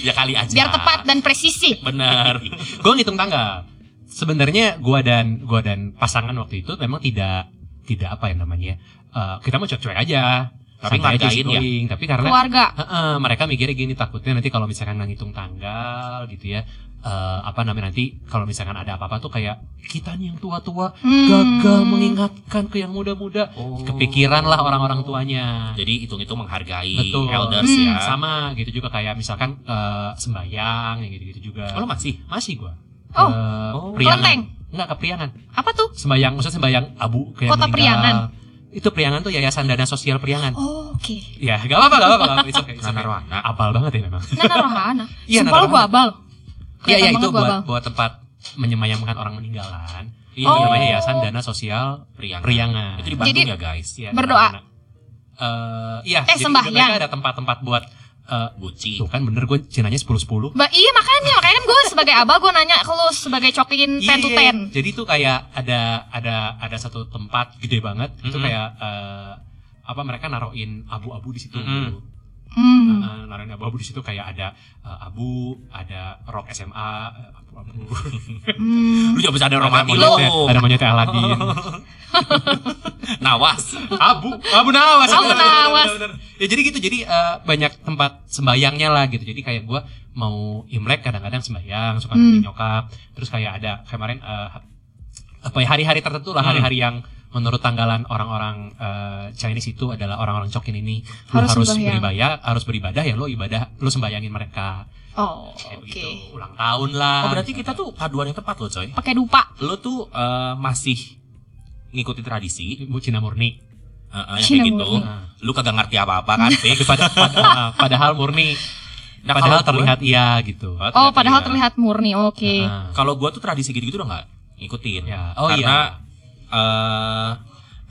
Speaker 2: Ya kali aja.
Speaker 3: Biar tepat dan presisi.
Speaker 2: *laughs* Bener.
Speaker 1: gue ngitung tanggal. Sebenarnya gua dan gua dan pasangan waktu itu memang tidak tidak apa yang namanya. eh, kita mau cuek-cuek aja.
Speaker 2: Tapi
Speaker 1: Santai aja iya.
Speaker 2: ngargain ya.
Speaker 1: schooling. Tapi karena
Speaker 3: Keluarga.
Speaker 1: Heeh, mereka mikirnya gini takutnya nanti kalau misalkan nggak ngitung tanggal gitu ya eh, apa namanya nanti kalau misalkan ada apa-apa tuh kayak kita nih yang tua-tua
Speaker 3: Hmm.
Speaker 1: gagal mengingatkan ke yang muda-muda
Speaker 2: Oh.
Speaker 1: kepikiran lah orang-orang tuanya
Speaker 2: Jadi hitung-hitung menghargai
Speaker 1: Betul.
Speaker 2: elders
Speaker 3: Hmm.
Speaker 2: ya.
Speaker 1: sama gitu juga kayak misalkan eh, sembayang yang gitu-gitu juga
Speaker 2: Oh, lo masih?
Speaker 1: masih gua
Speaker 3: Oh.
Speaker 1: Ke
Speaker 2: Oh.
Speaker 1: Priangan.
Speaker 3: Kelenteng.
Speaker 1: Enggak ke Priangan.
Speaker 3: Apa tuh?
Speaker 1: Sembayang, maksudnya sembayang abu kayak
Speaker 3: Kota Priangan.
Speaker 1: Itu Priangan tuh Yayasan Dana Sosial Priangan.
Speaker 3: Oh, Oke.
Speaker 1: Ya, enggak apa-apa, enggak apa-apa. nggak apa-apa. It's okay, it's okay.
Speaker 2: Nah, Narwana.
Speaker 1: Abal banget ya memang.
Speaker 3: Nana Rohana.
Speaker 1: *laughs* Iya,
Speaker 3: Sumpah
Speaker 1: Nana
Speaker 3: lu gua
Speaker 1: Rohana.
Speaker 3: abal.
Speaker 1: Iya, iya
Speaker 3: Kelihatan
Speaker 1: itu
Speaker 3: banget gua abal.
Speaker 1: buat buat tempat menyemayamkan orang meninggalan. Itu
Speaker 3: Oh.
Speaker 1: namanya Yayasan Dana Sosial
Speaker 2: Priangan.
Speaker 1: Priangan.
Speaker 2: ya, Itu di Bandung
Speaker 3: Jadi-
Speaker 2: ya, guys.
Speaker 1: Iya,
Speaker 3: Berdoa.
Speaker 1: Narwana. Eh, iya,
Speaker 3: Eh,
Speaker 1: jadi
Speaker 3: sembahyang.
Speaker 1: mereka ada tempat-tempat buat eh
Speaker 2: Buci.
Speaker 1: tuh kan bener gue cinanya 10-10
Speaker 3: Ba iya makanya, makanya kan gue sebagai abal gue nanya ke lu sebagai cokin ten to
Speaker 1: Iya,
Speaker 3: ten.
Speaker 1: Jadi tuh kayak ada ada ada satu tempat gede banget itu
Speaker 2: Mhm.
Speaker 1: kayak eh, apa mereka naruhin abu-abu di situ.
Speaker 2: Mhm.
Speaker 1: gitu.
Speaker 3: Hmm.
Speaker 1: Eh, naruhin abu-abu di situ kayak ada eh, abu, ada rok SMA, eh, abu-abu. *laughs*
Speaker 3: Hmm.
Speaker 2: Lu jangan bercanda
Speaker 1: ada
Speaker 2: romantis lu.
Speaker 1: monyetnya, ada monyetnya Aladin.
Speaker 3: *laughs*
Speaker 2: Nawas.
Speaker 1: abu, abu nawas.
Speaker 3: Abu
Speaker 1: bener, bener, bener,
Speaker 3: Nawas.
Speaker 1: bener, bener. Ya jadi gitu, jadi eh, banyak tempat sembayangnya lah gitu. Jadi kayak gua mau imlek kadang-kadang sembayang, suka
Speaker 3: Hmm.
Speaker 1: bikin nyokap. Terus kayak ada kemarin eh, apa ya, hari-hari tertentu lah,
Speaker 2: Hmm.
Speaker 1: hari-hari yang menurut tanggalan orang-orang eh, Chinese itu adalah orang-orang cokin ini lu
Speaker 3: Harus
Speaker 1: harus,
Speaker 3: sembahyang.
Speaker 1: beribadah, harus beribadah ya lo ibadah, lo sembayangin mereka.
Speaker 3: Oh,
Speaker 1: Kayak
Speaker 3: oke.
Speaker 1: begitu. Ulang tahun lah.
Speaker 2: Oh, berarti kita tuh paduan yang tepat loh, coy.
Speaker 3: Pakai dupa.
Speaker 2: Lu tuh eh, masih ngikutin tradisi,
Speaker 1: Ibu Cina murni.
Speaker 2: eh, eh, yang
Speaker 3: Cina
Speaker 2: kayak gitu.
Speaker 3: murni.
Speaker 1: Nah,
Speaker 2: Lu kagak ngerti apa-apa *laughs* kan, Fik?
Speaker 1: pad- pad-
Speaker 2: *laughs*
Speaker 1: ah, padahal murni,
Speaker 2: Nah,
Speaker 1: padahal
Speaker 2: kalau
Speaker 1: terlihat iya gitu.
Speaker 2: gua-
Speaker 3: Oh, padahal
Speaker 2: iya.
Speaker 3: terlihat murni. Oke.
Speaker 1: Ah.
Speaker 2: Kalau gua tuh tradisi gitu-gitu udah nggak ngikutin.
Speaker 1: Ya. Oh,
Speaker 2: karena,
Speaker 1: iya.
Speaker 2: eh,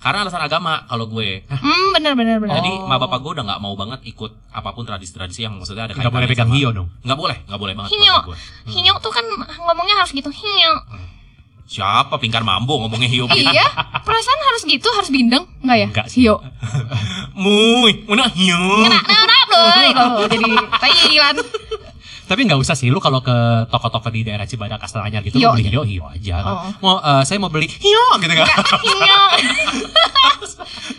Speaker 2: karena alasan agama kalau gue.
Speaker 3: Hmm, bener bener bener.
Speaker 2: Jadi
Speaker 1: Oh.
Speaker 2: ma bapak gue udah nggak mau banget ikut apapun tradisi-tradisi yang maksudnya ada
Speaker 1: Nggak boleh pegang hio dong.
Speaker 2: Nggak boleh, nggak boleh banget.
Speaker 3: Hinyo.
Speaker 2: keluarga gue.
Speaker 3: Hinyo tuh kan ngomongnya harus gitu. Hinyo.
Speaker 2: Siapa pingkar mambo ngomongnya hio?
Speaker 3: iya,
Speaker 2: *laughs*
Speaker 3: perasaan harus gitu, harus bindeng, enggak ya?
Speaker 1: Nggak sih.
Speaker 3: Hinyo.
Speaker 1: *laughs*
Speaker 2: Mui, mana hio?
Speaker 3: Kena nah, nah, loh, loh, jadi Thailand.
Speaker 1: Tapi nggak usah sih lu kalau ke toko-toko di daerah Cibadak Astana gitu
Speaker 3: Hio.
Speaker 1: lu beli hio hio aja.
Speaker 3: Oh.
Speaker 1: Mau eh, saya mau beli hio gitu kan.
Speaker 3: Hinyo.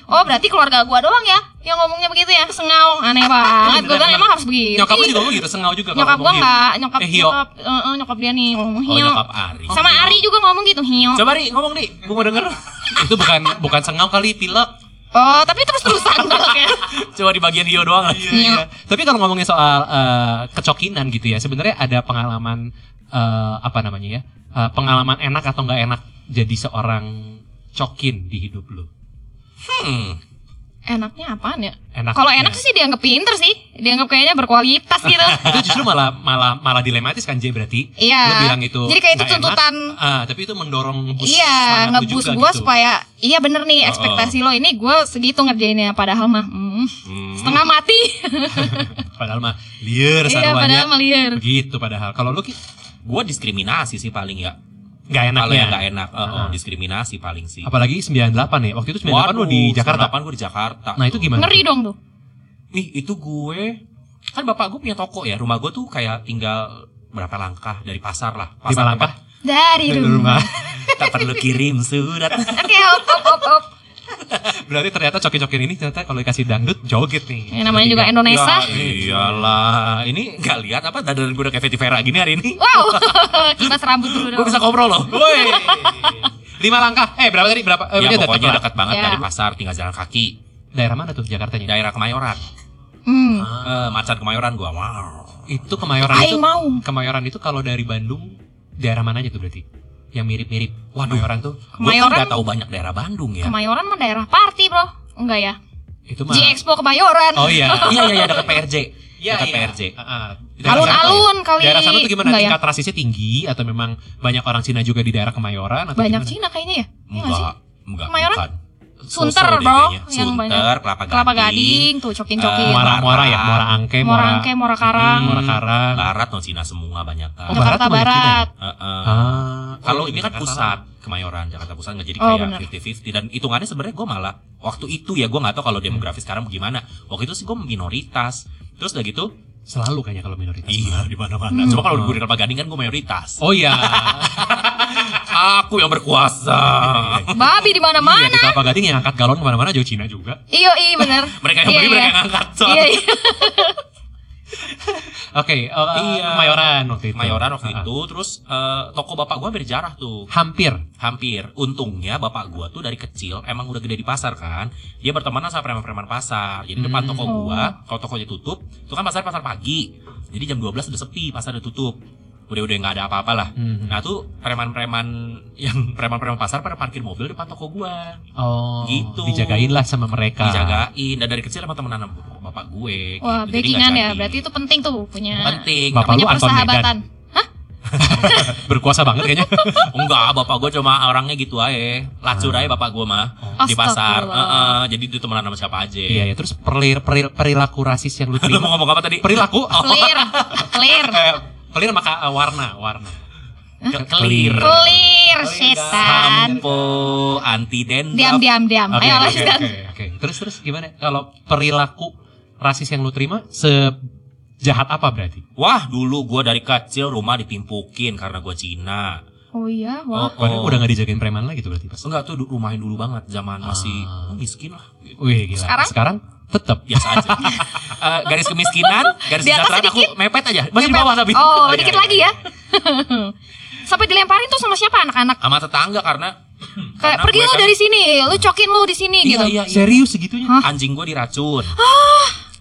Speaker 3: Oh berarti keluarga gua doang ya yang ngomongnya begitu ya sengau aneh banget gua bilang emang harus
Speaker 1: *laughs*
Speaker 3: begitu
Speaker 1: Nyokap lu juga ngomong gitu, sengau juga kalau
Speaker 3: nyokap gua
Speaker 1: ngomong hio.
Speaker 3: nggak nyokap
Speaker 1: Eh, Hio.
Speaker 3: nyokap eh, eh, nyokap dia nih ngomong
Speaker 2: Oh,
Speaker 3: Hio
Speaker 2: nyokap Ari.
Speaker 3: sama Ari juga ngomong gitu Hio
Speaker 2: Coba Ri, ngomong Ri. Gue mau denger.
Speaker 1: *laughs* Itu bukan bukan sengau kali pilek.
Speaker 3: oh tapi terus *laughs* terusan kalau kayak
Speaker 2: Coba di bagian hio doang lagi.
Speaker 3: Hio
Speaker 1: Iya. Tapi kalau ngomongin soal eh, kecokinan gitu ya, sebenarnya ada pengalaman eh, apa namanya ya? Eh, pengalaman enak atau nggak enak jadi seorang cokin di hidup lu.
Speaker 2: Hmm.
Speaker 3: enaknya apaan ya
Speaker 1: Enak.
Speaker 3: kalau enak sih dianggap pinter sih dianggap kayaknya berkualitas
Speaker 1: *laughs*
Speaker 3: gitu
Speaker 1: itu justru malah malah malah dilematis kan J berarti.
Speaker 3: Iya.
Speaker 1: Lu bilang itu.
Speaker 3: Jadi kayak itu
Speaker 1: nggak enak,
Speaker 3: tuntutan-
Speaker 1: ah, tapi itu mendorong ngebus.
Speaker 3: Iya,
Speaker 1: semangat lu
Speaker 3: ngebus
Speaker 1: juga
Speaker 3: gua
Speaker 1: gitu.
Speaker 3: supaya iya bener nih
Speaker 2: Oh,
Speaker 3: ekspektasi lo ini gua segitu ngerjainnya padahal mah
Speaker 2: Hmm.
Speaker 3: hmm, setengah
Speaker 1: Mm. *laughs*
Speaker 3: mati.
Speaker 1: Padahal mah liar
Speaker 3: iya,
Speaker 1: ya?
Speaker 3: padahal mah liar.
Speaker 1: Begitu padahal. Kalau lu Ki,
Speaker 2: Gue diskriminasi sih paling ya.
Speaker 1: nggak enak
Speaker 2: Kalau
Speaker 1: ya.
Speaker 2: yang nggak enak, eh, eh,
Speaker 1: Ah.
Speaker 2: diskriminasi paling sih.
Speaker 1: Apalagi 98 ya. Waktu itu 98 lu di Jakarta.
Speaker 2: gue di Jakarta.
Speaker 1: Nah, itu
Speaker 2: tuh.
Speaker 1: gimana?
Speaker 3: Ngeri dong tuh.
Speaker 2: Ih, itu gue kan bapak gue punya toko ya. Rumah gue tuh kayak tinggal berapa langkah dari pasar lah.
Speaker 1: Lima
Speaker 2: Pasar
Speaker 1: langkah? Di
Speaker 3: Dari rumah.
Speaker 1: rumah. *laughs*
Speaker 2: Tak perlu kirim
Speaker 3: *laughs*
Speaker 2: surat.
Speaker 3: Oke, hop hop hop hop.
Speaker 1: Berarti ternyata cokin-cokin ini ternyata kalau dikasih dangdut joget nih.
Speaker 3: Yang namanya juga
Speaker 1: Tiga.
Speaker 3: Indonesia.
Speaker 2: Ya, iyalah. Ini nggak lihat apa dadaran gue udah kayak Fetty Vera gini hari ini.
Speaker 3: Wow. *laughs* Kipas rambut dulu
Speaker 2: Gue
Speaker 3: dong.
Speaker 2: bisa ngobrol loh.
Speaker 1: Woi.
Speaker 2: *laughs*
Speaker 1: Lima langkah. Eh, berapa tadi? Berapa? Eh,
Speaker 2: ya
Speaker 1: ini
Speaker 2: pokoknya
Speaker 1: lah.
Speaker 2: dekat banget
Speaker 3: Ya.
Speaker 2: dari pasar tinggal jalan kaki
Speaker 1: Daerah mana tuh Jakartanya?
Speaker 2: daerah Kemayoran
Speaker 3: Hmm.
Speaker 1: Ah.
Speaker 2: Eh, macan Kemayoran gua wow
Speaker 1: Itu Kemayoran itu.
Speaker 3: Aing mau.
Speaker 1: Kemayoran itu kalau dari Bandung daerah mana aja tuh berarti? Yang mirip-mirip. Wah, Kemayoran tuh
Speaker 2: Gue kan
Speaker 3: Kemayoran-
Speaker 2: nggak tahu banyak daerah Bandung ya
Speaker 3: Kemayoran mah daerah party, Bro. Enggak ya?
Speaker 1: itu mah.
Speaker 3: J Expo Kemayoran.
Speaker 1: Oh iya.
Speaker 2: *laughs* iya iya iya dekat PRJ dekat PRJ
Speaker 1: Heeh.
Speaker 3: Alun-alun kali.
Speaker 1: Daerah sana tuh gimana?
Speaker 3: Enggak ya?
Speaker 1: Tingkat rasisnya tinggi atau memang banyak orang Cina juga di daerah Kemayoran atau
Speaker 3: Banyak
Speaker 1: gimana?
Speaker 3: Cina kayaknya ya? Iya nggak sih?
Speaker 2: enggak enggak
Speaker 3: Kemayoran?
Speaker 2: bukan
Speaker 3: Sunter
Speaker 2: Sosol deh
Speaker 3: bro
Speaker 2: kayaknya.
Speaker 3: yang
Speaker 2: Sunter,
Speaker 3: banyak
Speaker 2: kelapa gading,
Speaker 3: kelapa gading tuh cokin cokin
Speaker 2: Eh, Hmm,
Speaker 1: Muara Muara ya, Muara Angke,
Speaker 3: Muara Angke, Muara Karang.
Speaker 1: Muara Karang.
Speaker 2: Barat non Cina semua banyak kan.
Speaker 1: Oh,
Speaker 3: Jakarta
Speaker 1: Barat banyak Cina ya?
Speaker 3: Barat,
Speaker 2: Eh, eh.
Speaker 1: Ah,
Speaker 2: Kalau
Speaker 1: oh,
Speaker 2: ini kan
Speaker 1: Jakarta.
Speaker 2: pusat Kemayoran Jakarta Pusat nggak jadi
Speaker 3: Oh,
Speaker 2: kayak
Speaker 3: benar.
Speaker 2: 50-50 dan hitungannya sebenarnya gue malah waktu itu ya gue nggak tahu kalau
Speaker 3: Hmm.
Speaker 2: demografi sekarang gimana waktu itu sih gue minoritas terus udah gitu
Speaker 1: Selalu kayaknya kalau minoritas.
Speaker 2: iya di mana mana cuma kalau
Speaker 3: Hmm.
Speaker 2: gue di Kelapa Gading kan gue mayoritas Nah,
Speaker 1: Oh
Speaker 3: *laughs*
Speaker 1: iya.
Speaker 2: aku yang berkuasa ya?
Speaker 3: babi di mana
Speaker 1: Iya, di
Speaker 3: mana
Speaker 1: Kelapa Gading yang angkat galon kemana-mana jauh Cina juga.
Speaker 3: iyo i bener
Speaker 2: Iya, *laughs* mereka yang
Speaker 3: Iya,
Speaker 2: beli
Speaker 3: iya.
Speaker 2: mereka yang angkat so.
Speaker 3: iya
Speaker 2: *laughs*
Speaker 3: iya
Speaker 1: Oke, eh,
Speaker 2: Iya.
Speaker 1: Kemayoran waktu itu.
Speaker 2: Kemayoran waktu
Speaker 1: Ah, ah.
Speaker 2: itu terus eh, toko bapak gue berjarah tuh
Speaker 1: Hampir.
Speaker 2: hampir untungnya bapak gua tuh dari kecil emang udah gede di pasar kan dia bertemanan sama preman-preman pasar jadi depan
Speaker 1: Hmm.
Speaker 2: toko
Speaker 3: Oh.
Speaker 2: gua kalau tokonya tutup itu kan pasar pasar pagi jadi jam 12 udah sepi pasar udah tutup udah udah nggak ada apa-apa lah
Speaker 1: Hmm.
Speaker 2: nah tuh preman-preman *laughs* yang preman-preman pasar pada parkir mobil depan toko gua
Speaker 1: Oh,
Speaker 2: Gitu.
Speaker 1: dijagain lah sama mereka.
Speaker 2: dijagain dan dari kecil emang temenan sama bapak gue
Speaker 3: wah
Speaker 2: gitu. Jadi
Speaker 3: backingan
Speaker 2: nggak
Speaker 3: ya
Speaker 2: jadi.
Speaker 3: berarti itu ya. penting tuh punya
Speaker 2: penting
Speaker 1: Bapak lu
Speaker 3: punya
Speaker 1: Anton Medan.
Speaker 3: persahabatan
Speaker 1: Berkuasa banget kayaknya.
Speaker 2: Enggak, bapak gue cuma orangnya gitu aja. Lacur aja bapak gue mah di pasar.
Speaker 3: Astagfirullah.
Speaker 2: Heeh, jadi dia temenan sama siapa aja.
Speaker 1: Iya, ya. Terus perlir, peril- perilaku rasis yang lu
Speaker 2: Lu
Speaker 1: terima.
Speaker 2: *laughs* mau ngomong apa tadi?
Speaker 1: perilaku oh,
Speaker 3: clear
Speaker 2: *laughs*
Speaker 3: clear
Speaker 1: eh, pelir maka eh, warna, warna.
Speaker 2: Ke- Kelir.
Speaker 3: clear setan
Speaker 2: Sampo, anti dendam.
Speaker 3: diam diam diam
Speaker 1: Oke,
Speaker 3: ayo
Speaker 1: oke,
Speaker 3: lanjut
Speaker 1: oke, oke. Terus terus gimana? Kalau perilaku rasis yang lu terima sejahat apa berarti?
Speaker 2: Wah, dulu gue dari kecil rumah ditimpukin karena gue Cina.
Speaker 3: oh iya wah
Speaker 1: Padahal udah gak dijagain preman lagi tuh berarti pas.
Speaker 2: Enggak tuh du- rumahin dulu banget zaman masih
Speaker 1: Ah.
Speaker 2: miskin lah.
Speaker 1: Wih, gila.
Speaker 3: Sekarang?
Speaker 1: tetap.
Speaker 2: Biasa
Speaker 3: *laughs*
Speaker 2: aja. Eh, garis kemiskinan, garis
Speaker 3: Di atas
Speaker 2: kesejahteraan aku
Speaker 3: sedikit.
Speaker 2: mepet aja. Masih di
Speaker 3: Nyepet.
Speaker 2: bawah tapi.
Speaker 3: Oh,
Speaker 2: Iya,
Speaker 3: dikit
Speaker 2: iya.
Speaker 3: lagi ya. *laughs* Sampai dilemparin tuh sama siapa anak-anak?
Speaker 2: Sama tetangga karena
Speaker 3: Kayak
Speaker 2: karena
Speaker 3: pergi
Speaker 2: gue
Speaker 3: lu
Speaker 2: kan-
Speaker 3: dari sini, lu cokin lu di sini
Speaker 2: Iya,
Speaker 3: gitu.
Speaker 2: iya, iya.
Speaker 1: Serius segitunya?
Speaker 3: Hah? Ah!
Speaker 2: anjing gue diracun.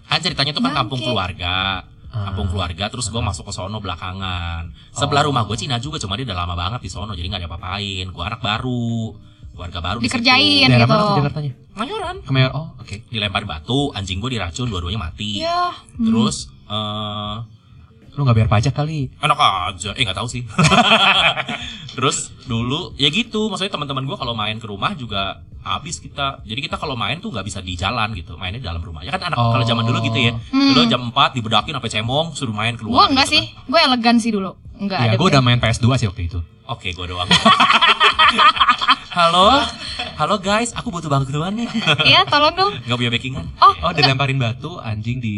Speaker 2: Kan ceritanya tuh kan kampung
Speaker 3: Bangke.
Speaker 2: keluarga. Kampung keluarga terus gue masuk ke sono belakangan. Sebelah
Speaker 1: Oh.
Speaker 2: rumah gue Cina juga cuma dia udah lama banget di sono jadi nggak ada apa-apain. Gue anak baru. Keluarga baru di situ.
Speaker 3: Dikerjain.
Speaker 1: Daerah
Speaker 3: gitu.
Speaker 1: mana tuh Jakartanya?
Speaker 2: Mayoran.
Speaker 1: Kemayoran. Oh, oke.
Speaker 2: Dilempar batu, anjing gue diracun, dua-duanya mati.
Speaker 3: Iya. Hmm.
Speaker 2: Terus eh
Speaker 1: Lu gak bayar pajak kali.
Speaker 2: enak aja. Eh nggak tahu sih. *laughs* terus dulu ya gitu, maksudnya teman-teman gue kalau main ke rumah juga habis kita. Jadi kita kalau main tuh nggak bisa di jalan gitu, mainnya di dalam rumah. Ya kan anak
Speaker 1: Oh.
Speaker 2: kalau zaman dulu gitu ya.
Speaker 3: Hmm.
Speaker 2: Dulu jam 4 dibedakin sampai cemong suruh main
Speaker 3: Gua
Speaker 2: keluar.
Speaker 3: enggak
Speaker 2: gitu
Speaker 3: sih, gue elegan sih dulu. Enggak
Speaker 1: Iya,
Speaker 3: ada.
Speaker 1: gue udah main PS2 sih waktu itu.
Speaker 2: kan. Oke, gua doang. *laughs* Halo. Halo guys, aku butuh bantuan nih.
Speaker 3: Iya, tolong dong.
Speaker 2: Enggak punya backingan.
Speaker 3: Oh,
Speaker 1: Oh, dilemparin batu, anjing di...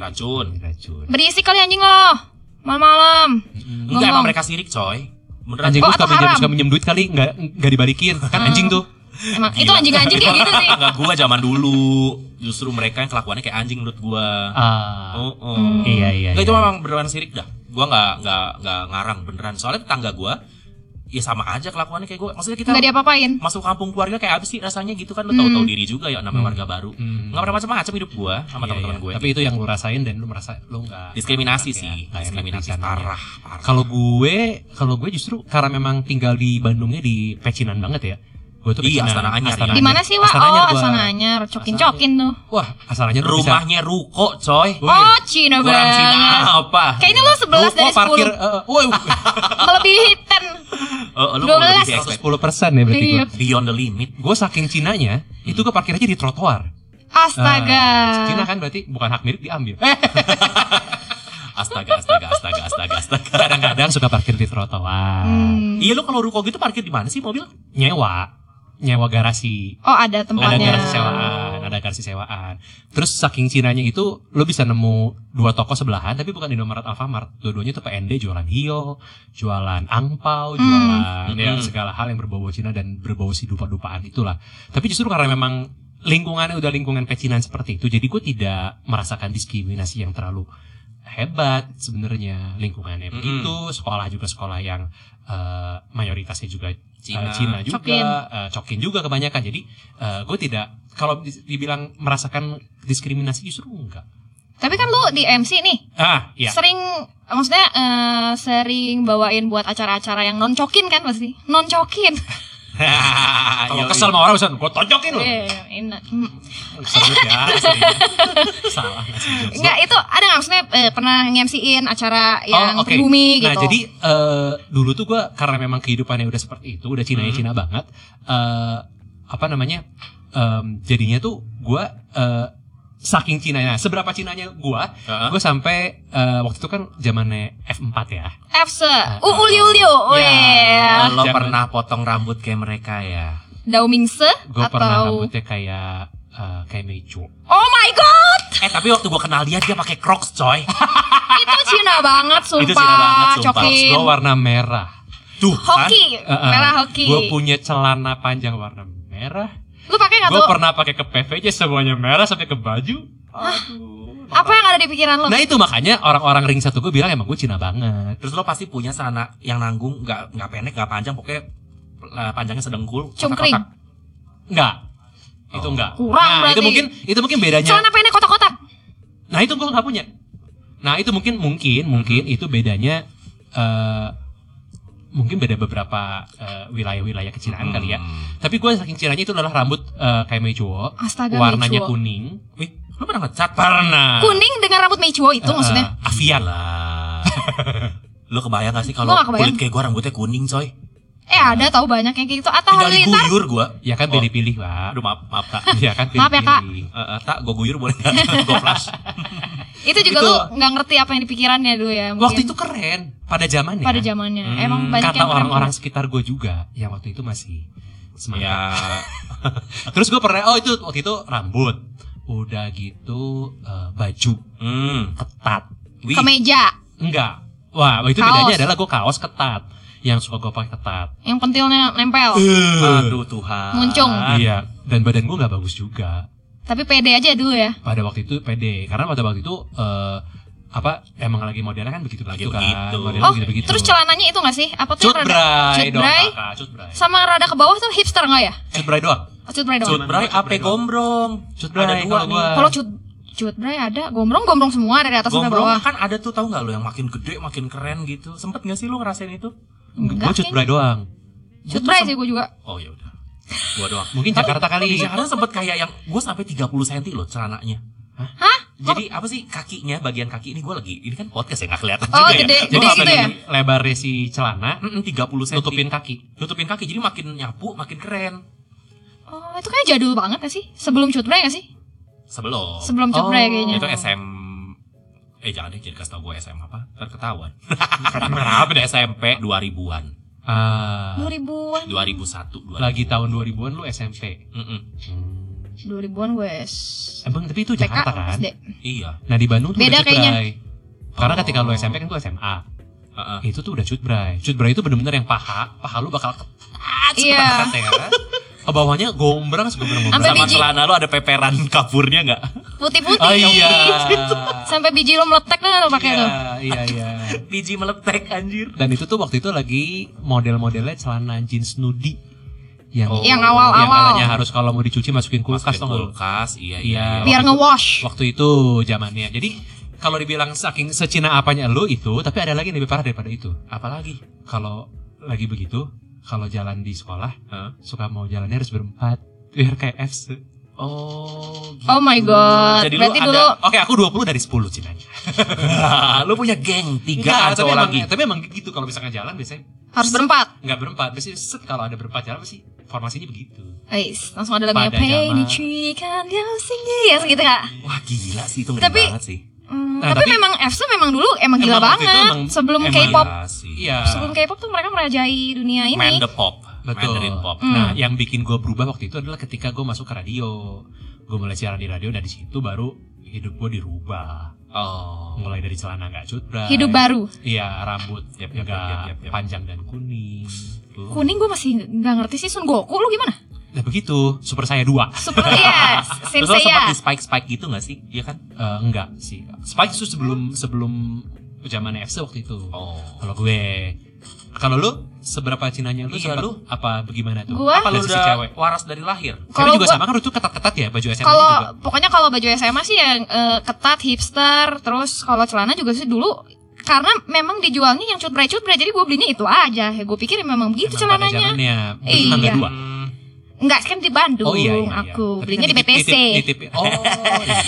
Speaker 2: Racun.
Speaker 1: Racun.
Speaker 3: berisik kali anjing lo. Malam-malam.
Speaker 2: Enggak emang
Speaker 3: Ngomong.
Speaker 2: mereka sirik, coy. Beneran.
Speaker 1: Anjing
Speaker 3: Oh,
Speaker 1: gue suka
Speaker 3: atau
Speaker 1: minjem,
Speaker 3: haram?
Speaker 1: suka minjem duit kali, nggak nggak
Speaker 3: *laughs*
Speaker 1: dibalikin. Kan anjing tuh.
Speaker 3: Emang itu anjing-anjing kayak gitu sih.
Speaker 2: Enggak gua zaman dulu. Justru mereka yang kelakuannya kayak anjing menurut gua.
Speaker 1: Ah,
Speaker 2: Oh, oh.
Speaker 3: Hmm.
Speaker 1: Iya, iya,
Speaker 2: Nggak,
Speaker 1: iya.
Speaker 2: itu memang beneran sirik dah. Gua nggak nggak nggak ngarang beneran. Soalnya tetangga gua ya sama aja kelakuannya kayak gua. Maksudnya kita
Speaker 3: Enggak diapa-apain.
Speaker 2: masuk kampung keluarga kayak apa sih rasanya gitu kan lu tahu-tahu diri juga ya namanya warga baru.
Speaker 1: Hmm.
Speaker 2: Nggak pernah macam-macam hidup gua sama
Speaker 1: Iya,
Speaker 2: teman-teman
Speaker 1: iya.
Speaker 2: gue.
Speaker 1: Tapi itu yang lu rasain dan lu merasa lu nggak
Speaker 2: diskriminasi
Speaker 1: Oke,
Speaker 2: sih,
Speaker 1: nggak enak
Speaker 2: diskriminasi
Speaker 1: pisannya.
Speaker 2: parah, parah.
Speaker 1: Kalau gue, kalau gue justru karena memang tinggal di Bandungnya di Pecinan banget ya. Gue tuh
Speaker 2: Iya,
Speaker 1: Pecinan.
Speaker 2: Astana Anyar ya.
Speaker 3: Di mana sih, Wak?
Speaker 1: Astana Anyar
Speaker 3: Oh,
Speaker 1: gua-
Speaker 3: Astana Anyar, cokin-cokin tuh.
Speaker 1: Wah, asal aja rumah.
Speaker 2: rumahnya ruko coy.
Speaker 1: Woi.
Speaker 3: Oh, Cina
Speaker 2: Kurang Cina
Speaker 3: banget.
Speaker 2: apa?
Speaker 3: Kayaknya lo 11 dari 10
Speaker 1: parkir, eh, woi,
Speaker 2: *laughs*
Speaker 3: melebihi 10.
Speaker 2: Eh, lu mau lebih
Speaker 3: 12.
Speaker 2: di expect.
Speaker 1: 10 persen ya berarti gue.
Speaker 3: Iya.
Speaker 2: Beyond the limit.
Speaker 1: Gue saking cinanya, itu gue parkir aja di trotoar.
Speaker 3: Astaga.
Speaker 1: Ah, Cina kan berarti bukan hak milik diambil. Eh,
Speaker 2: Astaga, astaga, astaga, astaga, astaga.
Speaker 1: Kadang suka parkir di trotoar.
Speaker 3: Hmm.
Speaker 2: Iya lu kalau ruko gitu parkir di mana sih mobil?
Speaker 1: Nyewa, nyewa garasi.
Speaker 3: Oh ada
Speaker 1: Ada
Speaker 3: tempatnya.
Speaker 1: garasi sewaan, ada garasi sewaan. Terus saking cinanya itu lo bisa nemu dua toko sebelahan tapi bukan Indomaret Alfamart. Dua-duanya itu PND jualan hio, jualan angpau,
Speaker 3: Hmm.
Speaker 1: jualan ya,
Speaker 2: Hmm.
Speaker 1: segala hal yang berbau Cina dan berbau si dupa-dupaan itulah. Tapi justru karena memang lingkungannya udah lingkungan pecinan seperti itu, jadi gue tidak merasakan diskriminasi yang terlalu hebat sebenarnya lingkungannya
Speaker 2: Mm-mm.
Speaker 1: begitu sekolah juga sekolah yang eh, mayoritasnya juga Cina, Cina
Speaker 2: Cina.
Speaker 1: juga
Speaker 3: Cokin.
Speaker 1: eh, cokin juga kebanyakan jadi gue tidak kalau di- dibilang merasakan diskriminasi justru enggak
Speaker 3: Tapi kan lu di MC nih,
Speaker 1: ah iya
Speaker 3: sering maksudnya eh, sering bawain buat acara-acara yang non cokin kan pasti, non cokin.
Speaker 1: *laughs* kalau kesel sama orang misalnya gue tojokin lo
Speaker 3: Eh, enak. Hmm.
Speaker 1: Sorry
Speaker 3: *laughs*
Speaker 1: ya sorry. salah ngasih jokes.
Speaker 3: Enggak itu ada nggak maksudnya eh, pernah ngemsiin acara
Speaker 1: Oh,
Speaker 3: yang
Speaker 1: oke.
Speaker 3: pribumi gitu.
Speaker 1: Nah jadi eh, dulu tuh ya,
Speaker 3: Hmm.
Speaker 1: gue karena memang kehidupannya udah seperti itu, udah Cina Cina banget. eh, apa namanya? em, jadinya tuh gue saking Cinanya, seberapa Cinanya gue,
Speaker 2: Heeh.
Speaker 1: gue sampai eh, waktu itu kan zamannya F4 ya.
Speaker 3: Fse, Uulio
Speaker 1: iya.
Speaker 3: Ulio, iya, weh,
Speaker 2: Lo
Speaker 1: Jangan-
Speaker 2: pernah potong rambut kayak mereka ya?
Speaker 3: Daumingse
Speaker 1: Gue
Speaker 3: atau
Speaker 1: pernah rambutnya kayak eh, kayak Meicho.
Speaker 3: Oh my god,
Speaker 2: Eh tapi waktu gua kenal dia dia pakai Crocs coy.
Speaker 3: itu Cina banget, sumpah,
Speaker 2: Itu Cina banget, sumpah.
Speaker 3: cokin.
Speaker 1: Gue warna merah.
Speaker 2: Tuh kan?
Speaker 3: Hoki,
Speaker 1: Eh,
Speaker 3: merah hoki.
Speaker 1: Gue punya celana panjang warna merah.
Speaker 3: Lu pakai nggak
Speaker 1: Gue
Speaker 3: tuh?
Speaker 1: pernah pakai ke PVJ semuanya merah sampai ke baju.
Speaker 3: Apa yang ada di pikiran lu?
Speaker 1: Nah itu makanya orang-orang ring satu gue bilang emang gue Cina banget.
Speaker 2: Terus lo pasti punya celana yang nanggung, nggak nggak pendek, nggak panjang, pokoknya eh, panjangnya sedengkul.
Speaker 3: Cungkring.
Speaker 2: kotak-kotak.
Speaker 1: Enggak. Itu
Speaker 2: Oh.
Speaker 1: enggak.
Speaker 3: Kurang
Speaker 1: nah, itu
Speaker 3: berarti.
Speaker 1: mungkin itu mungkin bedanya.
Speaker 3: Celana pendek kotak-kotak.
Speaker 1: Nah, itu gue nggak punya. Nah, itu mungkin mungkin mungkin
Speaker 2: Hmm.
Speaker 1: itu bedanya eh mungkin beda beberapa eh, wilayah-wilayah kecinaan kali ya.
Speaker 2: Hmm.
Speaker 1: Tapi gue saking cinanya itu adalah rambut eh, kayak Meijuo,
Speaker 3: Astaga,
Speaker 1: warnanya
Speaker 3: Meijuo.
Speaker 1: kuning.
Speaker 2: Wih, lo pernah ngecat? iya
Speaker 1: Pernah.
Speaker 3: Kuning dengan rambut meijuo itu
Speaker 1: Eh, eh,
Speaker 3: maksudnya.
Speaker 1: Avian.
Speaker 2: lah. *laughs* lo kebayang gak sih kalau
Speaker 3: Gua nggak kebayang.
Speaker 2: kulit kayak gua rambutnya kuning coy?
Speaker 3: Eh ada tau banyak yang kayak gitu. Atau
Speaker 2: Tinggal
Speaker 3: halilintar.
Speaker 2: diguyur gua.
Speaker 1: Ya kan
Speaker 2: Oh.
Speaker 1: pilih-pilih, Pak.
Speaker 2: Aduh maaf, maaf tak.
Speaker 1: Ya kan
Speaker 3: Maaf ya, Kak.
Speaker 1: pilih-pilih.
Speaker 2: Eh, eh, tak, gua guyur boleh
Speaker 3: *laughs*
Speaker 2: nggak? gua flash.
Speaker 3: Itu juga
Speaker 1: Itu-
Speaker 3: lu nggak ngerti apa yang di pikirannya dulu ya. Mungkin
Speaker 1: Waktu itu keren pada zamannya.
Speaker 3: pada zamannya.
Speaker 2: Hmm,
Speaker 3: Emang banyak
Speaker 1: kata
Speaker 3: yang keren.
Speaker 1: orang-orang sekitar gue juga yang waktu itu masih
Speaker 2: ya,
Speaker 1: semangat. Terus gue pernah oh itu waktu itu rambut, udah gitu eh, baju
Speaker 2: hmm.
Speaker 1: ketat.
Speaker 2: Wih,
Speaker 3: kemeja
Speaker 1: Enggak. Wah, waktu itu
Speaker 3: Kaos.
Speaker 1: bedanya adalah gue kaos ketat yang suka gue pakai ketat.
Speaker 3: yang pentilnya nempel.
Speaker 1: Eh.
Speaker 2: aduh Tuhan.
Speaker 3: Muncung.
Speaker 1: Iya, dan badan gue nggak bagus juga.
Speaker 3: Tapi pede aja dulu ya.
Speaker 1: Pada waktu itu pede karena pada waktu itu eh, apa emang lagi modelnya kan begitu begitu kan.
Speaker 2: Begitu.
Speaker 1: Modelnya
Speaker 3: Oh,
Speaker 1: begitu begitu.
Speaker 3: terus celananya itu nggak sih? Apa tuh yang rada
Speaker 1: Cutbray
Speaker 3: Cut
Speaker 1: dong,
Speaker 3: bray?
Speaker 1: kakak, cutbray.
Speaker 3: sama rada ke bawah tuh hipster nggak ya?
Speaker 1: Cutbray doang.
Speaker 3: Oh, Cut bray
Speaker 2: Cut
Speaker 3: dong.
Speaker 2: bray,
Speaker 1: Cut
Speaker 2: ape
Speaker 1: bray.
Speaker 2: gombrong?
Speaker 1: Cut bray
Speaker 2: ada dua
Speaker 1: kalau
Speaker 2: nih.
Speaker 1: gua.
Speaker 3: Kalau cut cut bray ada gombrong gombrong semua dari atas sampai bawah.
Speaker 2: Gombrong kan ada tuh tahu nggak lo yang makin gede makin keren gitu. Sempet nggak sih lo ngerasain itu?
Speaker 1: Gue
Speaker 3: Enggak,
Speaker 1: cutbray doang.
Speaker 3: Cut bray sih gue juga.
Speaker 2: Oh ya udah. Gua doang.
Speaker 1: Mungkin Jakarta kali.
Speaker 2: Di Jakarta sempet kayak yang gue sampai 30 cm loh celananya.
Speaker 3: Hah?
Speaker 2: Jadi apa sih kakinya bagian kaki ini gue lagi ini kan podcast ya nggak kelihatan
Speaker 3: Oh,
Speaker 2: juga
Speaker 3: gede,
Speaker 2: ya.
Speaker 1: Jadi
Speaker 3: gede
Speaker 2: Gua
Speaker 3: gitu
Speaker 2: sampai
Speaker 3: ya?
Speaker 1: sampai lebarnya si celana
Speaker 2: Mm-mm, 30 cm.
Speaker 1: nutupin kaki.
Speaker 2: nutupin kaki jadi makin nyapu makin keren.
Speaker 3: Oh, itu kayak jadul banget gak sih? Sebelum cut bray gak sih?
Speaker 2: Sebelum.
Speaker 3: Sebelum cut
Speaker 1: Oh,
Speaker 3: bray kayaknya.
Speaker 2: Itu SM Eh jangan deh, jangan kasih tau gue SM apa, ntar ketahuan *laughs* Kenapa deh SMP 2000-an,
Speaker 1: Ah,
Speaker 3: 2000-an.
Speaker 2: 2001, 2000.
Speaker 1: lagi tahun 2000-an lu SMP.
Speaker 2: Mm-mm.
Speaker 3: 2000-an gue S-
Speaker 1: Hmm. Emang tapi itu
Speaker 3: TK
Speaker 1: Jakarta kan?
Speaker 3: SD.
Speaker 2: Iya.
Speaker 1: Nah di Bandung tuh
Speaker 3: Beda
Speaker 1: udah
Speaker 3: kayaknya.
Speaker 1: cutbray. Karena
Speaker 2: Oh.
Speaker 1: ketika lu SMP kan gua SMA.
Speaker 2: Heeh.
Speaker 1: Itu tuh udah cutbray. Cutbray itu bener-bener yang paha, paha lu bakal ketat
Speaker 3: Iya.
Speaker 1: banget ya kan? Ke bawahnya gombrang segombrang
Speaker 3: Sampai
Speaker 2: Sama
Speaker 1: gombrang.
Speaker 3: biji.
Speaker 2: celana lu ada peperan *laughs* kapurnya nggak?
Speaker 3: Putih-putih.
Speaker 1: Oh iya.
Speaker 3: *laughs* Sampai biji lo meletek tuh lo pakai
Speaker 1: Iya,
Speaker 3: tuh.
Speaker 1: iya, iya.
Speaker 2: Biji meletek anjir.
Speaker 1: Dan itu tuh waktu itu lagi model-modelnya celana jeans nudi yang
Speaker 2: Oh.
Speaker 3: Yang awal-awal.
Speaker 1: yang katanya harus kalau mau dicuci masukin kulkas
Speaker 2: Masukin
Speaker 1: tau nggak lu?
Speaker 2: kulkas, iya
Speaker 1: Iya.
Speaker 2: iya. iya.
Speaker 1: waktu
Speaker 3: Biar
Speaker 1: itu-
Speaker 3: nge-wash.
Speaker 1: waktu itu zamannya. Jadi kalau dibilang saking secina apanya lu itu, tapi ada lagi yang lebih parah daripada itu.
Speaker 2: Apalagi?
Speaker 1: Kalau lagi begitu, kalau jalan di sekolah
Speaker 2: Hah?
Speaker 1: suka mau jalannya harus berempat biar kayak F.
Speaker 2: Oh. Gitu.
Speaker 3: Oh my god.
Speaker 2: Jadi lu
Speaker 3: Berarti
Speaker 2: ada-
Speaker 3: dulu
Speaker 1: Oke, aku 20 dari 10 cinanya.
Speaker 2: lu punya geng tiga
Speaker 1: Enggak, tapi
Speaker 2: atau
Speaker 1: emang,
Speaker 2: lagi.
Speaker 1: tapi emang gitu kalau misalkan jalan biasanya
Speaker 3: harus berempat.
Speaker 1: enggak berempat. Biasanya set kalau ada berempat jalan pasti formasinya begitu.
Speaker 3: Ais, langsung ada lagunya
Speaker 1: Pada
Speaker 3: Pain
Speaker 1: zaman-
Speaker 3: Tree Can You Sing It?" ya segitu kak.
Speaker 2: Wah gila sih itu ngeri
Speaker 3: Tapi-
Speaker 2: banget sih.
Speaker 3: Hmm,
Speaker 1: Nah,
Speaker 3: tapi,
Speaker 1: tapi-
Speaker 3: memang Fs tuh memang dulu emang gila
Speaker 1: Emang waktu itu
Speaker 3: banget.
Speaker 1: emang-
Speaker 3: sebelum
Speaker 1: emang
Speaker 3: K-pop,
Speaker 2: Gila sih.
Speaker 1: Iya.
Speaker 3: sebelum K-pop tuh mereka merajai dunia ini. Mm.
Speaker 2: Man the pop.
Speaker 1: Betul.
Speaker 2: Mandarin pop. Hmm.
Speaker 1: Nah, yang bikin gue berubah waktu itu adalah ketika gue masuk ke radio. Gue mulai siaran di radio dan di situ baru hidup gue dirubah.
Speaker 2: Oh.
Speaker 1: Mulai dari celana nggak cutbray.
Speaker 3: Hidup baru.
Speaker 1: Iya, rambut
Speaker 2: Yap,
Speaker 1: nggak
Speaker 2: yap, yap, yap, yap.
Speaker 1: panjang dan kuning.
Speaker 3: Kuning gue masih nggak ngerti sih Sun Goku lu
Speaker 1: *laughs*
Speaker 3: gimana?
Speaker 1: Nah begitu, super saya dua.
Speaker 3: Super yes,
Speaker 2: Terus
Speaker 3: Sensei
Speaker 2: lo sempet
Speaker 3: ya.
Speaker 2: di spike spike gitu gak sih? Iya kan?
Speaker 1: Eh, enggak sih. Spike itu sebelum sebelum zaman FC waktu itu.
Speaker 2: Oh.
Speaker 1: Kalau gue, kalau lu seberapa cinanya lu?
Speaker 2: Iya,
Speaker 1: sempat
Speaker 2: lu.
Speaker 1: apa bagaimana tuh?
Speaker 3: Gua?
Speaker 1: Apa
Speaker 2: Apa
Speaker 1: lu
Speaker 2: lu
Speaker 1: sisi
Speaker 2: udah
Speaker 1: cewek?
Speaker 2: waras dari lahir?
Speaker 1: Cewek
Speaker 3: Kalau
Speaker 1: juga
Speaker 3: gua-
Speaker 1: sama kan itu ketat-ketat ya baju SMA juga.
Speaker 3: Kalau pokoknya kalau baju SMA sih yang eh, ketat hipster, terus kalau celana juga sih dulu karena memang dijualnya yang cutbray cutbray jadi gue belinya itu aja ya gue pikir memang begitu
Speaker 1: Emang pada
Speaker 3: celananya
Speaker 1: zamannya beli
Speaker 3: Iya.
Speaker 1: tangga dua.
Speaker 3: nggak kan di
Speaker 1: Oh
Speaker 3: Bandung
Speaker 1: iya, iya, iya. Tapi
Speaker 3: aku
Speaker 1: kan
Speaker 3: belinya di BTC
Speaker 1: nitip- nitip- nitip- oh iya.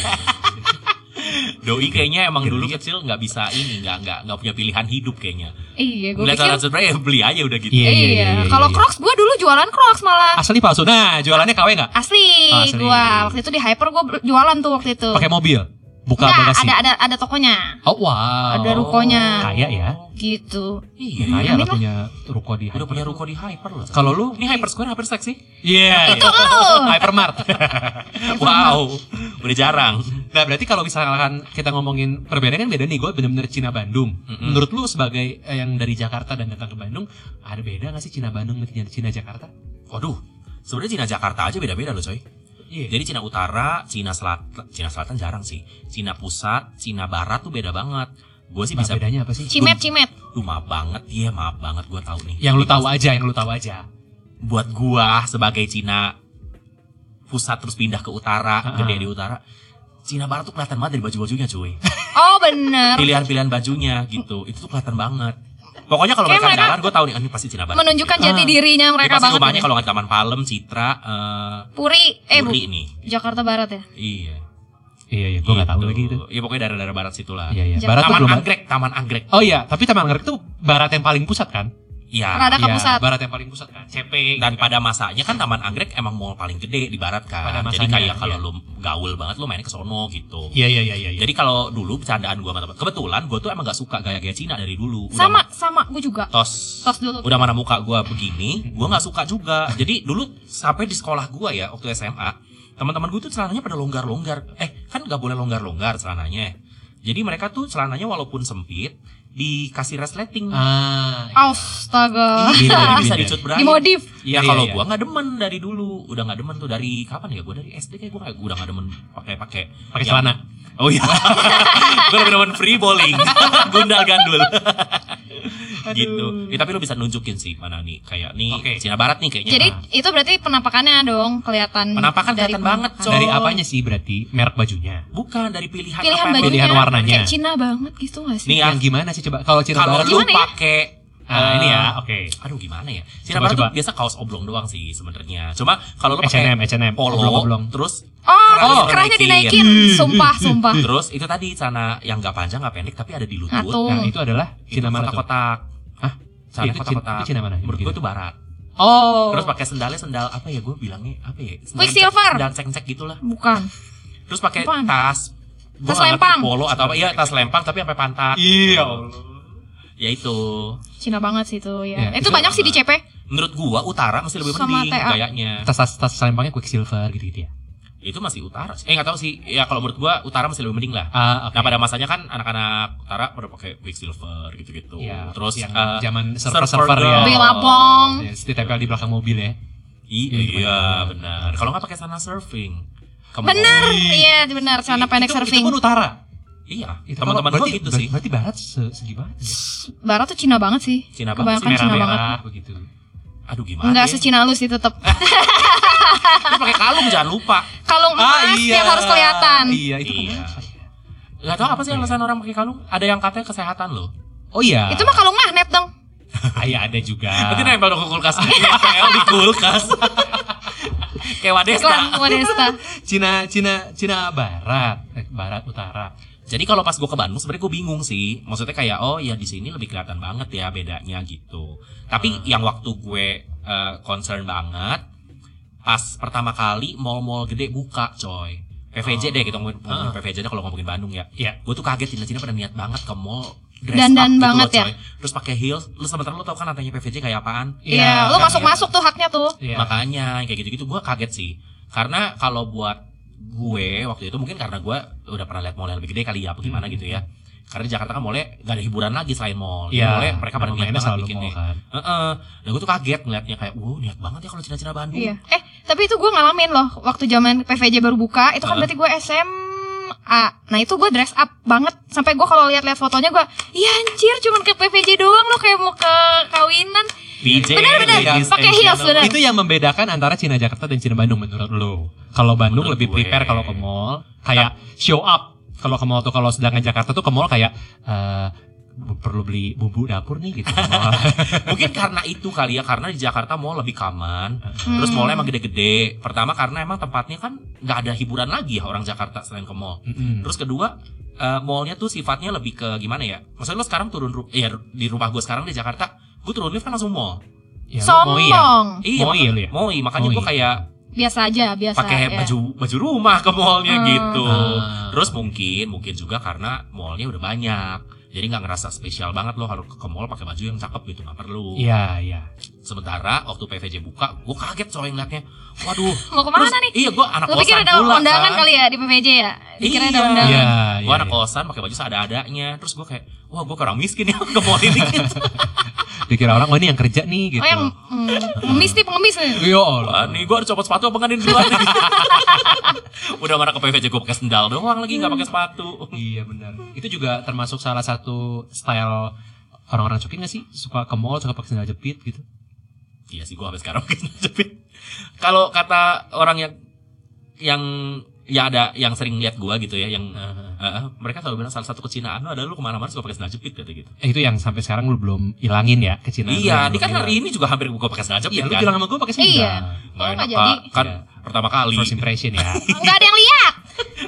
Speaker 2: Doi kayaknya emang dulu kecil nggak bisa ini, nggak nggak nggak punya pilihan hidup kayaknya.
Speaker 3: Iya, gue
Speaker 2: Ngeliat
Speaker 3: pikir.
Speaker 2: alat spray ya beli aja udah gitu.
Speaker 1: Iya, iya, iya,
Speaker 3: Iya,
Speaker 1: iya,
Speaker 3: kalau
Speaker 1: iya.
Speaker 3: Crocs gue dulu jualan Crocs malah.
Speaker 1: *laughs* Asli palsu. Nah, jualannya KW nggak?
Speaker 3: Asli,
Speaker 1: Ah, Asli.
Speaker 3: gua waktu itu di Hyper gue jualan tuh waktu itu.
Speaker 1: Pakai mobil. Buka
Speaker 3: Enggak,
Speaker 1: bagasi.
Speaker 3: ada ada ada tokonya.
Speaker 1: Oh, wow.
Speaker 3: Ada rukonya.
Speaker 1: Kaya ya.
Speaker 3: Gitu.
Speaker 1: Ya,
Speaker 2: Iya,
Speaker 1: kaya
Speaker 3: Amin
Speaker 1: lah
Speaker 3: lah.
Speaker 1: punya ruko di
Speaker 2: Udah punya ruko di Hyper loh.
Speaker 1: Kalau lu?
Speaker 2: ini Hyper Square Hyper Sex sih.
Speaker 1: Iya.
Speaker 3: Itu lu.
Speaker 1: Hypermart.
Speaker 2: *laughs*
Speaker 1: *laughs*
Speaker 2: wow, udah jarang.
Speaker 1: Nah berarti kalau misalkan kita ngomongin perbedaannya kan beda nih, gue bener-bener Cina Bandung.
Speaker 2: Mm-mm.
Speaker 1: Menurut lu sebagai eh, yang dari Jakarta dan datang ke Bandung, ada beda nggak sih Cina Bandung dengan Cina Jakarta?
Speaker 2: Waduh, sebenarnya Cina Jakarta aja beda-beda loh coy.
Speaker 1: Iya.
Speaker 2: Jadi Cina Utara, Cina Selatan, Cina Selatan jarang sih. Cina Pusat, Cina Barat tuh beda banget. Gue sih bisa
Speaker 1: bedanya apa sih?
Speaker 3: Cimet, cimet.
Speaker 2: Duh maaf banget ya, maaf banget gue tahu nih.
Speaker 1: Yang lu tahu aja, yang lu tahu aja.
Speaker 2: Buat gua sebagai Cina pusat terus pindah ke utara,
Speaker 1: Ah.
Speaker 2: gede di utara. Cina Barat tuh kelihatan banget dari baju-bajunya cuy.
Speaker 3: Oh, bener.
Speaker 2: Pilihan-pilihan bajunya gitu, itu tuh kelihatan banget. Pokoknya kalau
Speaker 3: Kayak
Speaker 2: mereka
Speaker 3: mereka-
Speaker 2: jalan gue tahu nih, ah, ini pasti Cina Barat.
Speaker 3: Menunjukkan jati
Speaker 1: Ah.
Speaker 3: dirinya
Speaker 2: Ini
Speaker 3: mereka
Speaker 2: pasti
Speaker 3: banget.
Speaker 2: rumahnya
Speaker 3: nih.
Speaker 2: kalau nggak Taman Palem, Citra, eh
Speaker 3: Puri, eh bu,
Speaker 2: Puri nih.
Speaker 3: Jakarta Barat ya.
Speaker 2: Iya.
Speaker 1: Iya, iya, gue nggak tahu
Speaker 2: Gitu.
Speaker 1: lagi itu.
Speaker 2: Iya pokoknya daerah-daerah barat situ lah.
Speaker 1: Iya, iya.
Speaker 3: Jakarta.
Speaker 1: Barat tuh
Speaker 2: Taman
Speaker 1: belum.
Speaker 2: Anggrek, Taman Anggrek.
Speaker 1: Oh iya, tapi Taman Anggrek tuh barat yang paling pusat kan?
Speaker 2: Iya.
Speaker 3: Rada ke
Speaker 1: Iya,
Speaker 3: pusat.
Speaker 1: Barat yang paling pusat kan. CP.
Speaker 2: Dan pada masanya kan Taman Anggrek emang mall paling gede di barat kan.
Speaker 1: Pada
Speaker 2: Jadi
Speaker 1: masanya,
Speaker 2: kayak kalau
Speaker 1: iya.
Speaker 2: lu gaul banget lu mainnya ke sono gitu.
Speaker 1: Iya, iya, iya, iya. iya.
Speaker 2: Jadi kalau dulu bercandaan gua sama teman. Kebetulan gua tuh emang gak suka gaya-gaya Cina dari dulu. Udah
Speaker 3: Sama,
Speaker 2: ma-
Speaker 3: sama, gue juga.
Speaker 2: Tos.
Speaker 3: Tos dulu.
Speaker 2: Udah mana muka gua begini, gua nggak suka juga. Jadi dulu sampai di sekolah gua ya waktu SMA, teman-teman gua tuh celananya pada longgar-longgar. Eh, kan nggak boleh longgar-longgar celananya. Jadi mereka tuh celananya walaupun sempit dikasih resleting.
Speaker 1: Ah. iya.
Speaker 3: Astaga.
Speaker 1: Binder,
Speaker 2: Iya, bisa
Speaker 1: binder.
Speaker 2: dicut berair.
Speaker 3: Dimodif.
Speaker 1: Iya,
Speaker 2: Ya
Speaker 1: iya,
Speaker 2: kalau
Speaker 1: iya.
Speaker 2: gua nggak demen dari dulu, udah nggak demen tuh dari kapan ya? Gua dari SD kayak gua, nggak- gua udah nggak demen pakai pakai
Speaker 1: Pakai
Speaker 2: yang-
Speaker 1: celana.
Speaker 2: Oh iya. gua lebih demen free *laughs* bowling, gundal gandul. gitu. Ya, tapi lu bisa nunjukin sih mana nih kayak nih
Speaker 1: Oke.
Speaker 2: Cina Barat nih kayaknya.
Speaker 3: Jadi itu berarti penampakannya dong kelihatan.
Speaker 2: Iya, Penampakan
Speaker 3: dari
Speaker 2: kelihatan banget,
Speaker 3: penampakan.
Speaker 2: Cong.
Speaker 1: Dari apanya sih berarti merek bajunya?
Speaker 2: bukan dari pilihan
Speaker 3: Pilihan
Speaker 2: apa yang
Speaker 3: bajunya.
Speaker 1: Pilihan warnanya.
Speaker 3: Kayak Cina banget gitu gak sih?
Speaker 2: Nih ya,
Speaker 1: Yang gimana sih coba? Kalau Cina
Speaker 2: kalau
Speaker 1: Barat
Speaker 2: lu
Speaker 3: Gimana ya?
Speaker 2: pakai
Speaker 1: Ah,
Speaker 2: eh,
Speaker 1: ini ya, oke.
Speaker 2: Aduh gimana ya? Cina
Speaker 1: Coba,
Speaker 2: Barat tuh
Speaker 1: coba.
Speaker 2: biasa kaos oblong doang sih sebenarnya. Cuma kalau lu
Speaker 1: H&M,
Speaker 2: pakai
Speaker 1: H&M,
Speaker 2: polo,
Speaker 1: oblong-oblong.
Speaker 2: terus
Speaker 3: Oh,
Speaker 2: kerahnya
Speaker 3: oh kerahnya
Speaker 2: dinaikin. Hmm.
Speaker 3: dinaikin. Sumpah, sumpah.
Speaker 2: Terus itu tadi celana yang nggak panjang nggak pendek tapi ada di lutut.
Speaker 3: Atuh.
Speaker 1: Nah, itu adalah
Speaker 2: Itu
Speaker 1: Cina mana tuh?
Speaker 2: kotak-kotak.
Speaker 1: Hah?
Speaker 2: Celana
Speaker 1: Itu Cina-
Speaker 2: kotak-kotak.
Speaker 1: itu Cina Iya, H&M, mana? Gitu.
Speaker 2: Menurut
Speaker 1: Yang
Speaker 2: gue itu barat.
Speaker 1: Oh.
Speaker 2: Terus pakai sendalnya sendal apa ya gue bilangnya apa ya? Sendal
Speaker 3: Quicksilver.
Speaker 2: Dan ceng-ceng gitulah.
Speaker 3: Bukan.
Speaker 2: Terus pakai
Speaker 3: Apaan?
Speaker 2: tas Gua nggak
Speaker 3: Tas
Speaker 2: ngerti
Speaker 3: lempang.
Speaker 2: polo atau apa iya tas lempang tapi sampai pantat
Speaker 1: Iya.
Speaker 2: ya itu
Speaker 3: Cina banget sih itu ya.
Speaker 1: Ya,
Speaker 2: itu
Speaker 3: itu, banyak sih di
Speaker 2: Iya, banget.
Speaker 3: CP.
Speaker 2: menurut gua utara masih lebih
Speaker 3: Sama
Speaker 2: penting
Speaker 3: TA.
Speaker 2: kayaknya
Speaker 1: Tas tas tas selempangnya Quicksilver gitu gitu ya.
Speaker 2: itu masih utara sih eh nggak tahu sih ya kalau menurut gua utara masih lebih mending lah
Speaker 1: Ah, oke.
Speaker 2: Nah pada masanya kan anak-anak utara pada pakai Quicksilver gitu-gitu.
Speaker 1: Ya,
Speaker 2: Terus
Speaker 1: yang
Speaker 2: eh,
Speaker 1: zaman
Speaker 2: surfer
Speaker 1: surfer surfer
Speaker 2: girl.
Speaker 1: ya.
Speaker 2: Iya.
Speaker 3: Bella Bong.
Speaker 1: Ya, ditempel di belakang mobil ya.
Speaker 2: i-
Speaker 1: Iya,
Speaker 2: iya
Speaker 1: benar.
Speaker 2: benar. Kalau nggak pakai sana surfing. Come
Speaker 3: Bener,
Speaker 2: on.
Speaker 3: iya bener celana pendek
Speaker 1: Itu-
Speaker 3: surfing.
Speaker 1: Itu pun utara.
Speaker 2: Iya.
Speaker 1: Itu
Speaker 2: Teman-teman
Speaker 1: kalau-
Speaker 2: gua
Speaker 1: berarti-
Speaker 2: gitu
Speaker 1: ber-
Speaker 2: sih.
Speaker 1: Berarti barat se- segi banget ya.
Speaker 3: Barat tuh Cina banget sih.
Speaker 2: Cina banget
Speaker 3: Kebanyakan
Speaker 2: sih,
Speaker 3: Cina Kan banget.
Speaker 1: Merah-merah begitu.
Speaker 2: Aduh gimana?
Speaker 3: Enggak
Speaker 2: ya?
Speaker 3: secina lu sih tetep
Speaker 2: Terus pakai kalung jangan lupa.
Speaker 3: Kalung emas yang harus kelihatan.
Speaker 1: Ah, Iya, itu
Speaker 2: Iya.
Speaker 1: kenapa ya?
Speaker 2: Gak tau apa sih
Speaker 1: Iya.
Speaker 2: alasan orang pakai kalung? Ada yang katanya kesehatan loh.
Speaker 1: Oh iya.
Speaker 3: Itu mah kalung magnet dong.
Speaker 1: Iya, ada juga.
Speaker 2: Berarti nempel dong ke kulkas. Nempel Nah. Iya, di
Speaker 1: *laughs*
Speaker 2: kulkas. Kayak Wadesta.
Speaker 3: Iklan Modesta.
Speaker 1: Cina Cina Cina barat, eh, barat utara.
Speaker 2: Jadi kalau pas gue ke Bandung sebenarnya gue bingung sih. Maksudnya kayak oh ya di sini lebih kelihatan banget ya bedanya gitu. Tapi
Speaker 3: Hmm.
Speaker 2: yang waktu gue eh, concern banget pas pertama kali mall-mall gede buka, coy.
Speaker 3: Oh.
Speaker 2: PVJ deh kita
Speaker 3: Hmm.
Speaker 2: ngomongin, ngomongin
Speaker 1: Ah.
Speaker 2: PVJ deh kalau ngomongin Bandung ya.
Speaker 1: Iya.
Speaker 2: Gue tuh kaget Cina-Cina pada niat banget ke mall dress up
Speaker 3: Dandan
Speaker 2: gitu
Speaker 3: banget
Speaker 2: loh,
Speaker 3: ya?
Speaker 2: coy. Terus pakai heels, lu sementara lu tau kan antanya PVJ kayak apaan?
Speaker 3: Iya, lu
Speaker 1: kan,
Speaker 3: masuk-masuk tuh haknya tuh.
Speaker 1: Iya.
Speaker 2: Makanya kayak gitu-gitu gue kaget sih. Karena kalau buat gue waktu itu mungkin karena gue udah pernah lihat mall yang lebih gede kali ya apa gimana
Speaker 1: Hmm.
Speaker 2: gitu ya. Karena di Jakarta kan mallnya gak ada hiburan lagi selain mall. Jadi
Speaker 1: Iya,
Speaker 2: mallnya mereka
Speaker 1: memang
Speaker 2: pada niat
Speaker 1: mainnya
Speaker 2: banget
Speaker 1: selalu mall
Speaker 2: bikinnya.
Speaker 1: kan.
Speaker 2: Heeh. Nah gue tuh kaget ngeliatnya kayak, wow niat banget ya kalau Cina-Cina Bandung.
Speaker 3: Iya. Eh, tapi itu gue ngalamin loh waktu zaman PVJ baru buka, itu kan
Speaker 2: Heeh.
Speaker 3: berarti gue SMA. Nah, itu gue dress up banget sampai gue kalau lihat-lihat fotonya gue, "Iya anjir, cuman ke PVJ doang lo kayak mau ke kawinan."
Speaker 2: PJ,
Speaker 3: Bener-bener,
Speaker 2: ladies
Speaker 3: pakai
Speaker 2: and
Speaker 3: heels,
Speaker 2: gentlemen.
Speaker 3: bener.
Speaker 1: Itu yang membedakan antara Cina Jakarta dan Cina Bandung menurut lo. Kalau Bandung
Speaker 2: Menurut
Speaker 1: lebih
Speaker 2: gue.
Speaker 1: prepare kalau ke mall, kayak show up. Kalau ke mall tuh kalau sedangkan Jakarta tuh ke mall kayak eh, bu- perlu beli bumbu dapur
Speaker 2: *laughs*
Speaker 1: nih gitu.
Speaker 2: *laughs* Mungkin karena itu kali ya, karena di Jakarta mall lebih kaman.
Speaker 3: Hmm.
Speaker 2: Terus mallnya emang gitu. gede-gede. Pertama karena emang tempatnya kan nggak ada hiburan lagi ya orang Jakarta selain ke mall.
Speaker 1: Mm-mm.
Speaker 2: Terus kedua, eh, mallnya tuh sifatnya lebih ke gimana ya? Maksudnya lo sekarang turun, ru- ya di rumah gue sekarang di Jakarta, gue turun lift kan langsung mall.
Speaker 1: Ya, lu mau iya?
Speaker 3: sombong
Speaker 2: Iya,
Speaker 1: Moi
Speaker 2: maka-
Speaker 1: lu ya?
Speaker 2: moi. makanya gue
Speaker 1: Moi.
Speaker 2: kayak
Speaker 3: biasa aja biasa
Speaker 2: pakai
Speaker 3: ya.
Speaker 2: baju baju rumah ke mallnya
Speaker 3: Hmm.
Speaker 2: gitu.
Speaker 1: Ah.
Speaker 2: Terus mungkin mungkin juga karena mallnya udah banyak. Jadi nggak ngerasa spesial banget lo harus ke mall pakai baju yang cakep gitu nggak perlu.
Speaker 1: Iya, iya.
Speaker 2: Sementara waktu PVJ buka, gue kaget coy ngeliatnya. Waduh.
Speaker 3: mau kemana
Speaker 2: Terus,
Speaker 3: nih
Speaker 2: Iya, gue anak
Speaker 3: lo pikir
Speaker 2: kosan
Speaker 3: ada
Speaker 2: pula,
Speaker 3: undangan
Speaker 2: kan.
Speaker 3: kali ya di PPJ ya dikira ada
Speaker 2: Iya.
Speaker 3: undangan
Speaker 1: Iya,
Speaker 2: Gue
Speaker 1: iya.
Speaker 2: anak
Speaker 1: iya.
Speaker 2: kosan pakai baju seada-adanya. Terus gue kayak, wah gue kurang miskin ya *laughs* ke mall ini gitu.
Speaker 1: Dikira orang, "Oh, ini yang kerja nih." gitu.
Speaker 3: oh yang mm, pengemis nih pengemis nih
Speaker 1: Ya Allah.
Speaker 2: Wah, nih gue harus copot sepatu apa nggak nih dulu nih? *laughs* Udah marah ke PVJ gue pakai sendal doang lagi nggak pakai sepatu.
Speaker 1: Iya benar. Itu juga termasuk salah satu style orang-orang cokin gak sih? Suka ke mall, suka pakai sandal jepit gitu.
Speaker 2: Iya sih gue sampai sekarang mungkin tapi kalau kata orang yang yang ya ada yang sering lihat gua gitu ya yang eh, mereka selalu bilang salah satu kecinaan lu ada lu kemana-mana suka pakai sandal jepit kata gitu.
Speaker 1: Eh, itu yang sampai sekarang lu belum ilangin ya kecinaan. lu yang
Speaker 2: iya, ini
Speaker 1: belum
Speaker 2: kan hari
Speaker 1: hilang.
Speaker 2: ini juga hampir gua pakai
Speaker 1: Iya,
Speaker 2: sandal jepit
Speaker 1: lu
Speaker 2: kan.
Speaker 1: bilang sama gue pakai sandal.
Speaker 3: Iya.
Speaker 2: Nggak
Speaker 3: Oh, nggak
Speaker 2: enak
Speaker 3: jadi.
Speaker 2: Pak. kan
Speaker 1: Iya.
Speaker 2: pertama kali
Speaker 1: First impression *laughs* ya.
Speaker 3: nggak ada yang lihat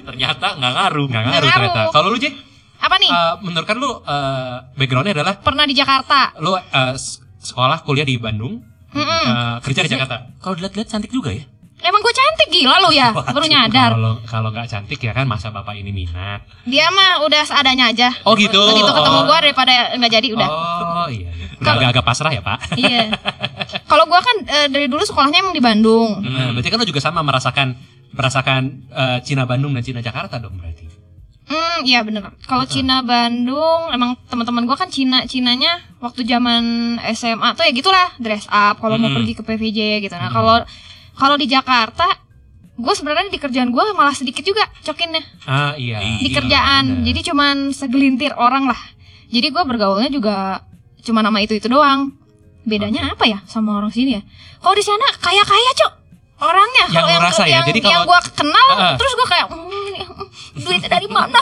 Speaker 2: ternyata nggak ngaruh.
Speaker 1: Nggak ngaruh
Speaker 3: ngaruh.
Speaker 1: ternyata. Kalau lu Jack,
Speaker 3: apa nih
Speaker 2: Ah.
Speaker 1: eh, menurut kan lu eh, backgroundnya adalah
Speaker 3: pernah di Jakarta
Speaker 1: lu eh, s- sekolah kuliah di Bandung,
Speaker 3: Mm-mm.
Speaker 1: eh, kerja di Jakarta.
Speaker 2: Kalau dilihat-lihat cantik juga ya.
Speaker 3: emang gue cantik gila lo ya baru nyadar
Speaker 1: Kalau kalau nggak cantik ya kan masa bapak ini minat.
Speaker 3: dia mah udah seadanya aja
Speaker 1: Oh gitu.
Speaker 3: begitu ketemu
Speaker 1: Oh.
Speaker 3: gue daripada nggak jadi udah
Speaker 1: Oh iya. Agak-agak pasrah ya pak. *laughs*
Speaker 3: iya kalau gue kan eh, dari dulu sekolahnya emang di Bandung
Speaker 1: Nah, berarti kan lo juga sama merasakan merasakan eh, Cina Bandung dan Cina Jakarta dong berarti.
Speaker 3: Hmm, iya bener. Kalau Cina Bandung, emang teman-teman gua kan Cina Cinanya waktu zaman SMA tuh ya gitulah dress up kalau mau
Speaker 1: Hmm.
Speaker 2: Mm.
Speaker 3: pergi ke PVJ gitu. Nah kalau kalau di Jakarta, gue sebenarnya di kerjaan gua malah sedikit juga cokinnya
Speaker 1: Ah iya.
Speaker 2: Iya,
Speaker 3: di kerjaan.
Speaker 1: bener.
Speaker 3: Jadi cuman segelintir orang lah. Jadi gua bergaulnya juga cuma nama itu itu doang. Bedanya apa ya sama orang sini ya? Kalau di sana kaya kaya cok orangnya.
Speaker 1: Yang
Speaker 3: Kalau
Speaker 1: lo rasa ya?
Speaker 3: yang,
Speaker 1: Jadi
Speaker 3: yang
Speaker 1: kalau-
Speaker 3: gua kenal,
Speaker 1: Heeh.
Speaker 3: terus gua kayak "Hmm, ini, hmm, duitnya dari
Speaker 1: *laughs*
Speaker 3: mana?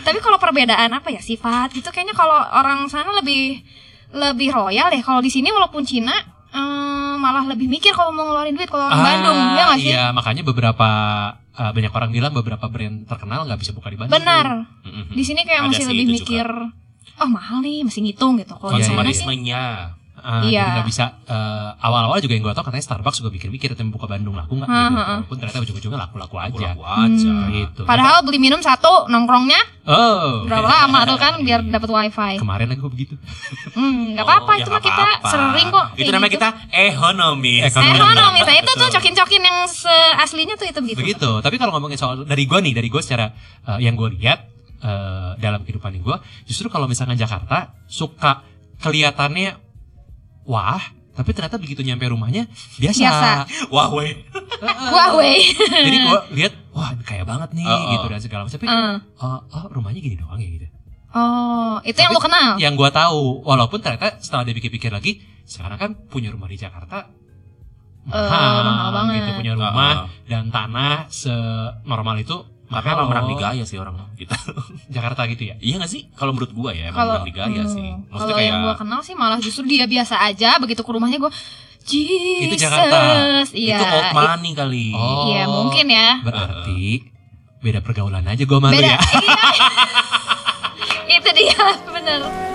Speaker 3: Tapi kalau perbedaan apa ya sifat gitu? Kayaknya kalau orang sana lebih lebih royal ya. Kalau di sini walaupun Cina eh, malah lebih mikir kalau mau ngeluarin duit kalau orang
Speaker 1: Ah,
Speaker 3: Bandung ya nggak sih?
Speaker 1: Iya makanya beberapa eh, banyak orang bilang beberapa brand terkenal nggak bisa buka di Bandung.
Speaker 3: Benar.
Speaker 2: Mm-mm.
Speaker 3: di sini
Speaker 2: Ada
Speaker 3: kayak masih
Speaker 2: sih
Speaker 3: lebih
Speaker 2: itu
Speaker 3: mikir oh mahal nih masih ngitung gitu kalau di
Speaker 1: Iya,
Speaker 3: sana
Speaker 1: iya.
Speaker 3: sih
Speaker 2: Konsumerismenya.
Speaker 1: Ah,
Speaker 3: Iya.
Speaker 1: Jadi nggak bisa eh, awal-awal juga yang gue tau katanya Starbucks juga mikir-mikir tapi buka Bandung laku nggak?
Speaker 3: Heeh,
Speaker 1: Gitu.
Speaker 3: heeh.
Speaker 1: Walaupun ternyata ujung-ujungnya laku-laku aja.
Speaker 2: Laku-laku aja.
Speaker 1: Nah, Gitu.
Speaker 3: padahal beli minum satu nongkrongnya
Speaker 1: Oh.
Speaker 3: berapa lama tuh kan biar dapat wifi
Speaker 1: Kemarin aku begitu.
Speaker 3: hmm nggak apa-apa
Speaker 2: Oh, ya
Speaker 3: itu mah
Speaker 2: nggak
Speaker 3: kita
Speaker 2: apa-apa.
Speaker 3: sering kok
Speaker 2: Itu namanya kita ekonomis.
Speaker 1: Ekonomis.
Speaker 3: ekonomi saya nah, itu tuh cokin-cokin yang aslinya tuh itu begitu
Speaker 1: Begitu. Tapi kalau ngomongin soal dari gua nih, dari gua secara eh, yang gua lihat eh, dalam kehidupan yang gua, justru kalau misalkan Jakarta suka kelihatannya wah, tapi ternyata begitu nyampe rumahnya biasa. *laughs*
Speaker 3: Biasa.
Speaker 2: Wah, weh.
Speaker 3: wah weh
Speaker 1: Jadi gua lihat wah kaya banget nih
Speaker 2: Oh, oh.
Speaker 1: gitu dan segala macam. Tapi
Speaker 3: Eh,
Speaker 1: oh, oh, rumahnya gini doang ya gitu.
Speaker 3: oh itu yang
Speaker 1: Tapi-
Speaker 3: lu kenal
Speaker 2: iya,
Speaker 1: Yang gua tahu, walaupun ternyata setelah dipikir-pikir lagi, sekarang kan punya rumah di Jakarta mahal,
Speaker 3: Eh, mahal banget.
Speaker 1: gitu punya rumah
Speaker 2: Rumah.
Speaker 1: dan tanah senormal itu
Speaker 2: Makanya emang
Speaker 1: mahal.
Speaker 2: menang digaya sih orang kita.
Speaker 1: Jakarta gitu ya.
Speaker 2: Iya gak sih? Kalau menurut gua ya, emang
Speaker 3: kalau
Speaker 2: menang digaya
Speaker 3: hmm,
Speaker 2: sih. Maksudnya
Speaker 3: kalau
Speaker 2: kayak
Speaker 3: yang gua kenal sih malah justru dia biasa aja begitu ke rumahnya gua Jesus
Speaker 1: Jakarta.
Speaker 3: iya
Speaker 2: itu old money kali.
Speaker 1: Oh.
Speaker 3: iya mungkin ya
Speaker 1: Berarti ya. beda pergaulan aja gue malu
Speaker 3: beda
Speaker 1: ya.
Speaker 3: *laughs* iya. itu dia bener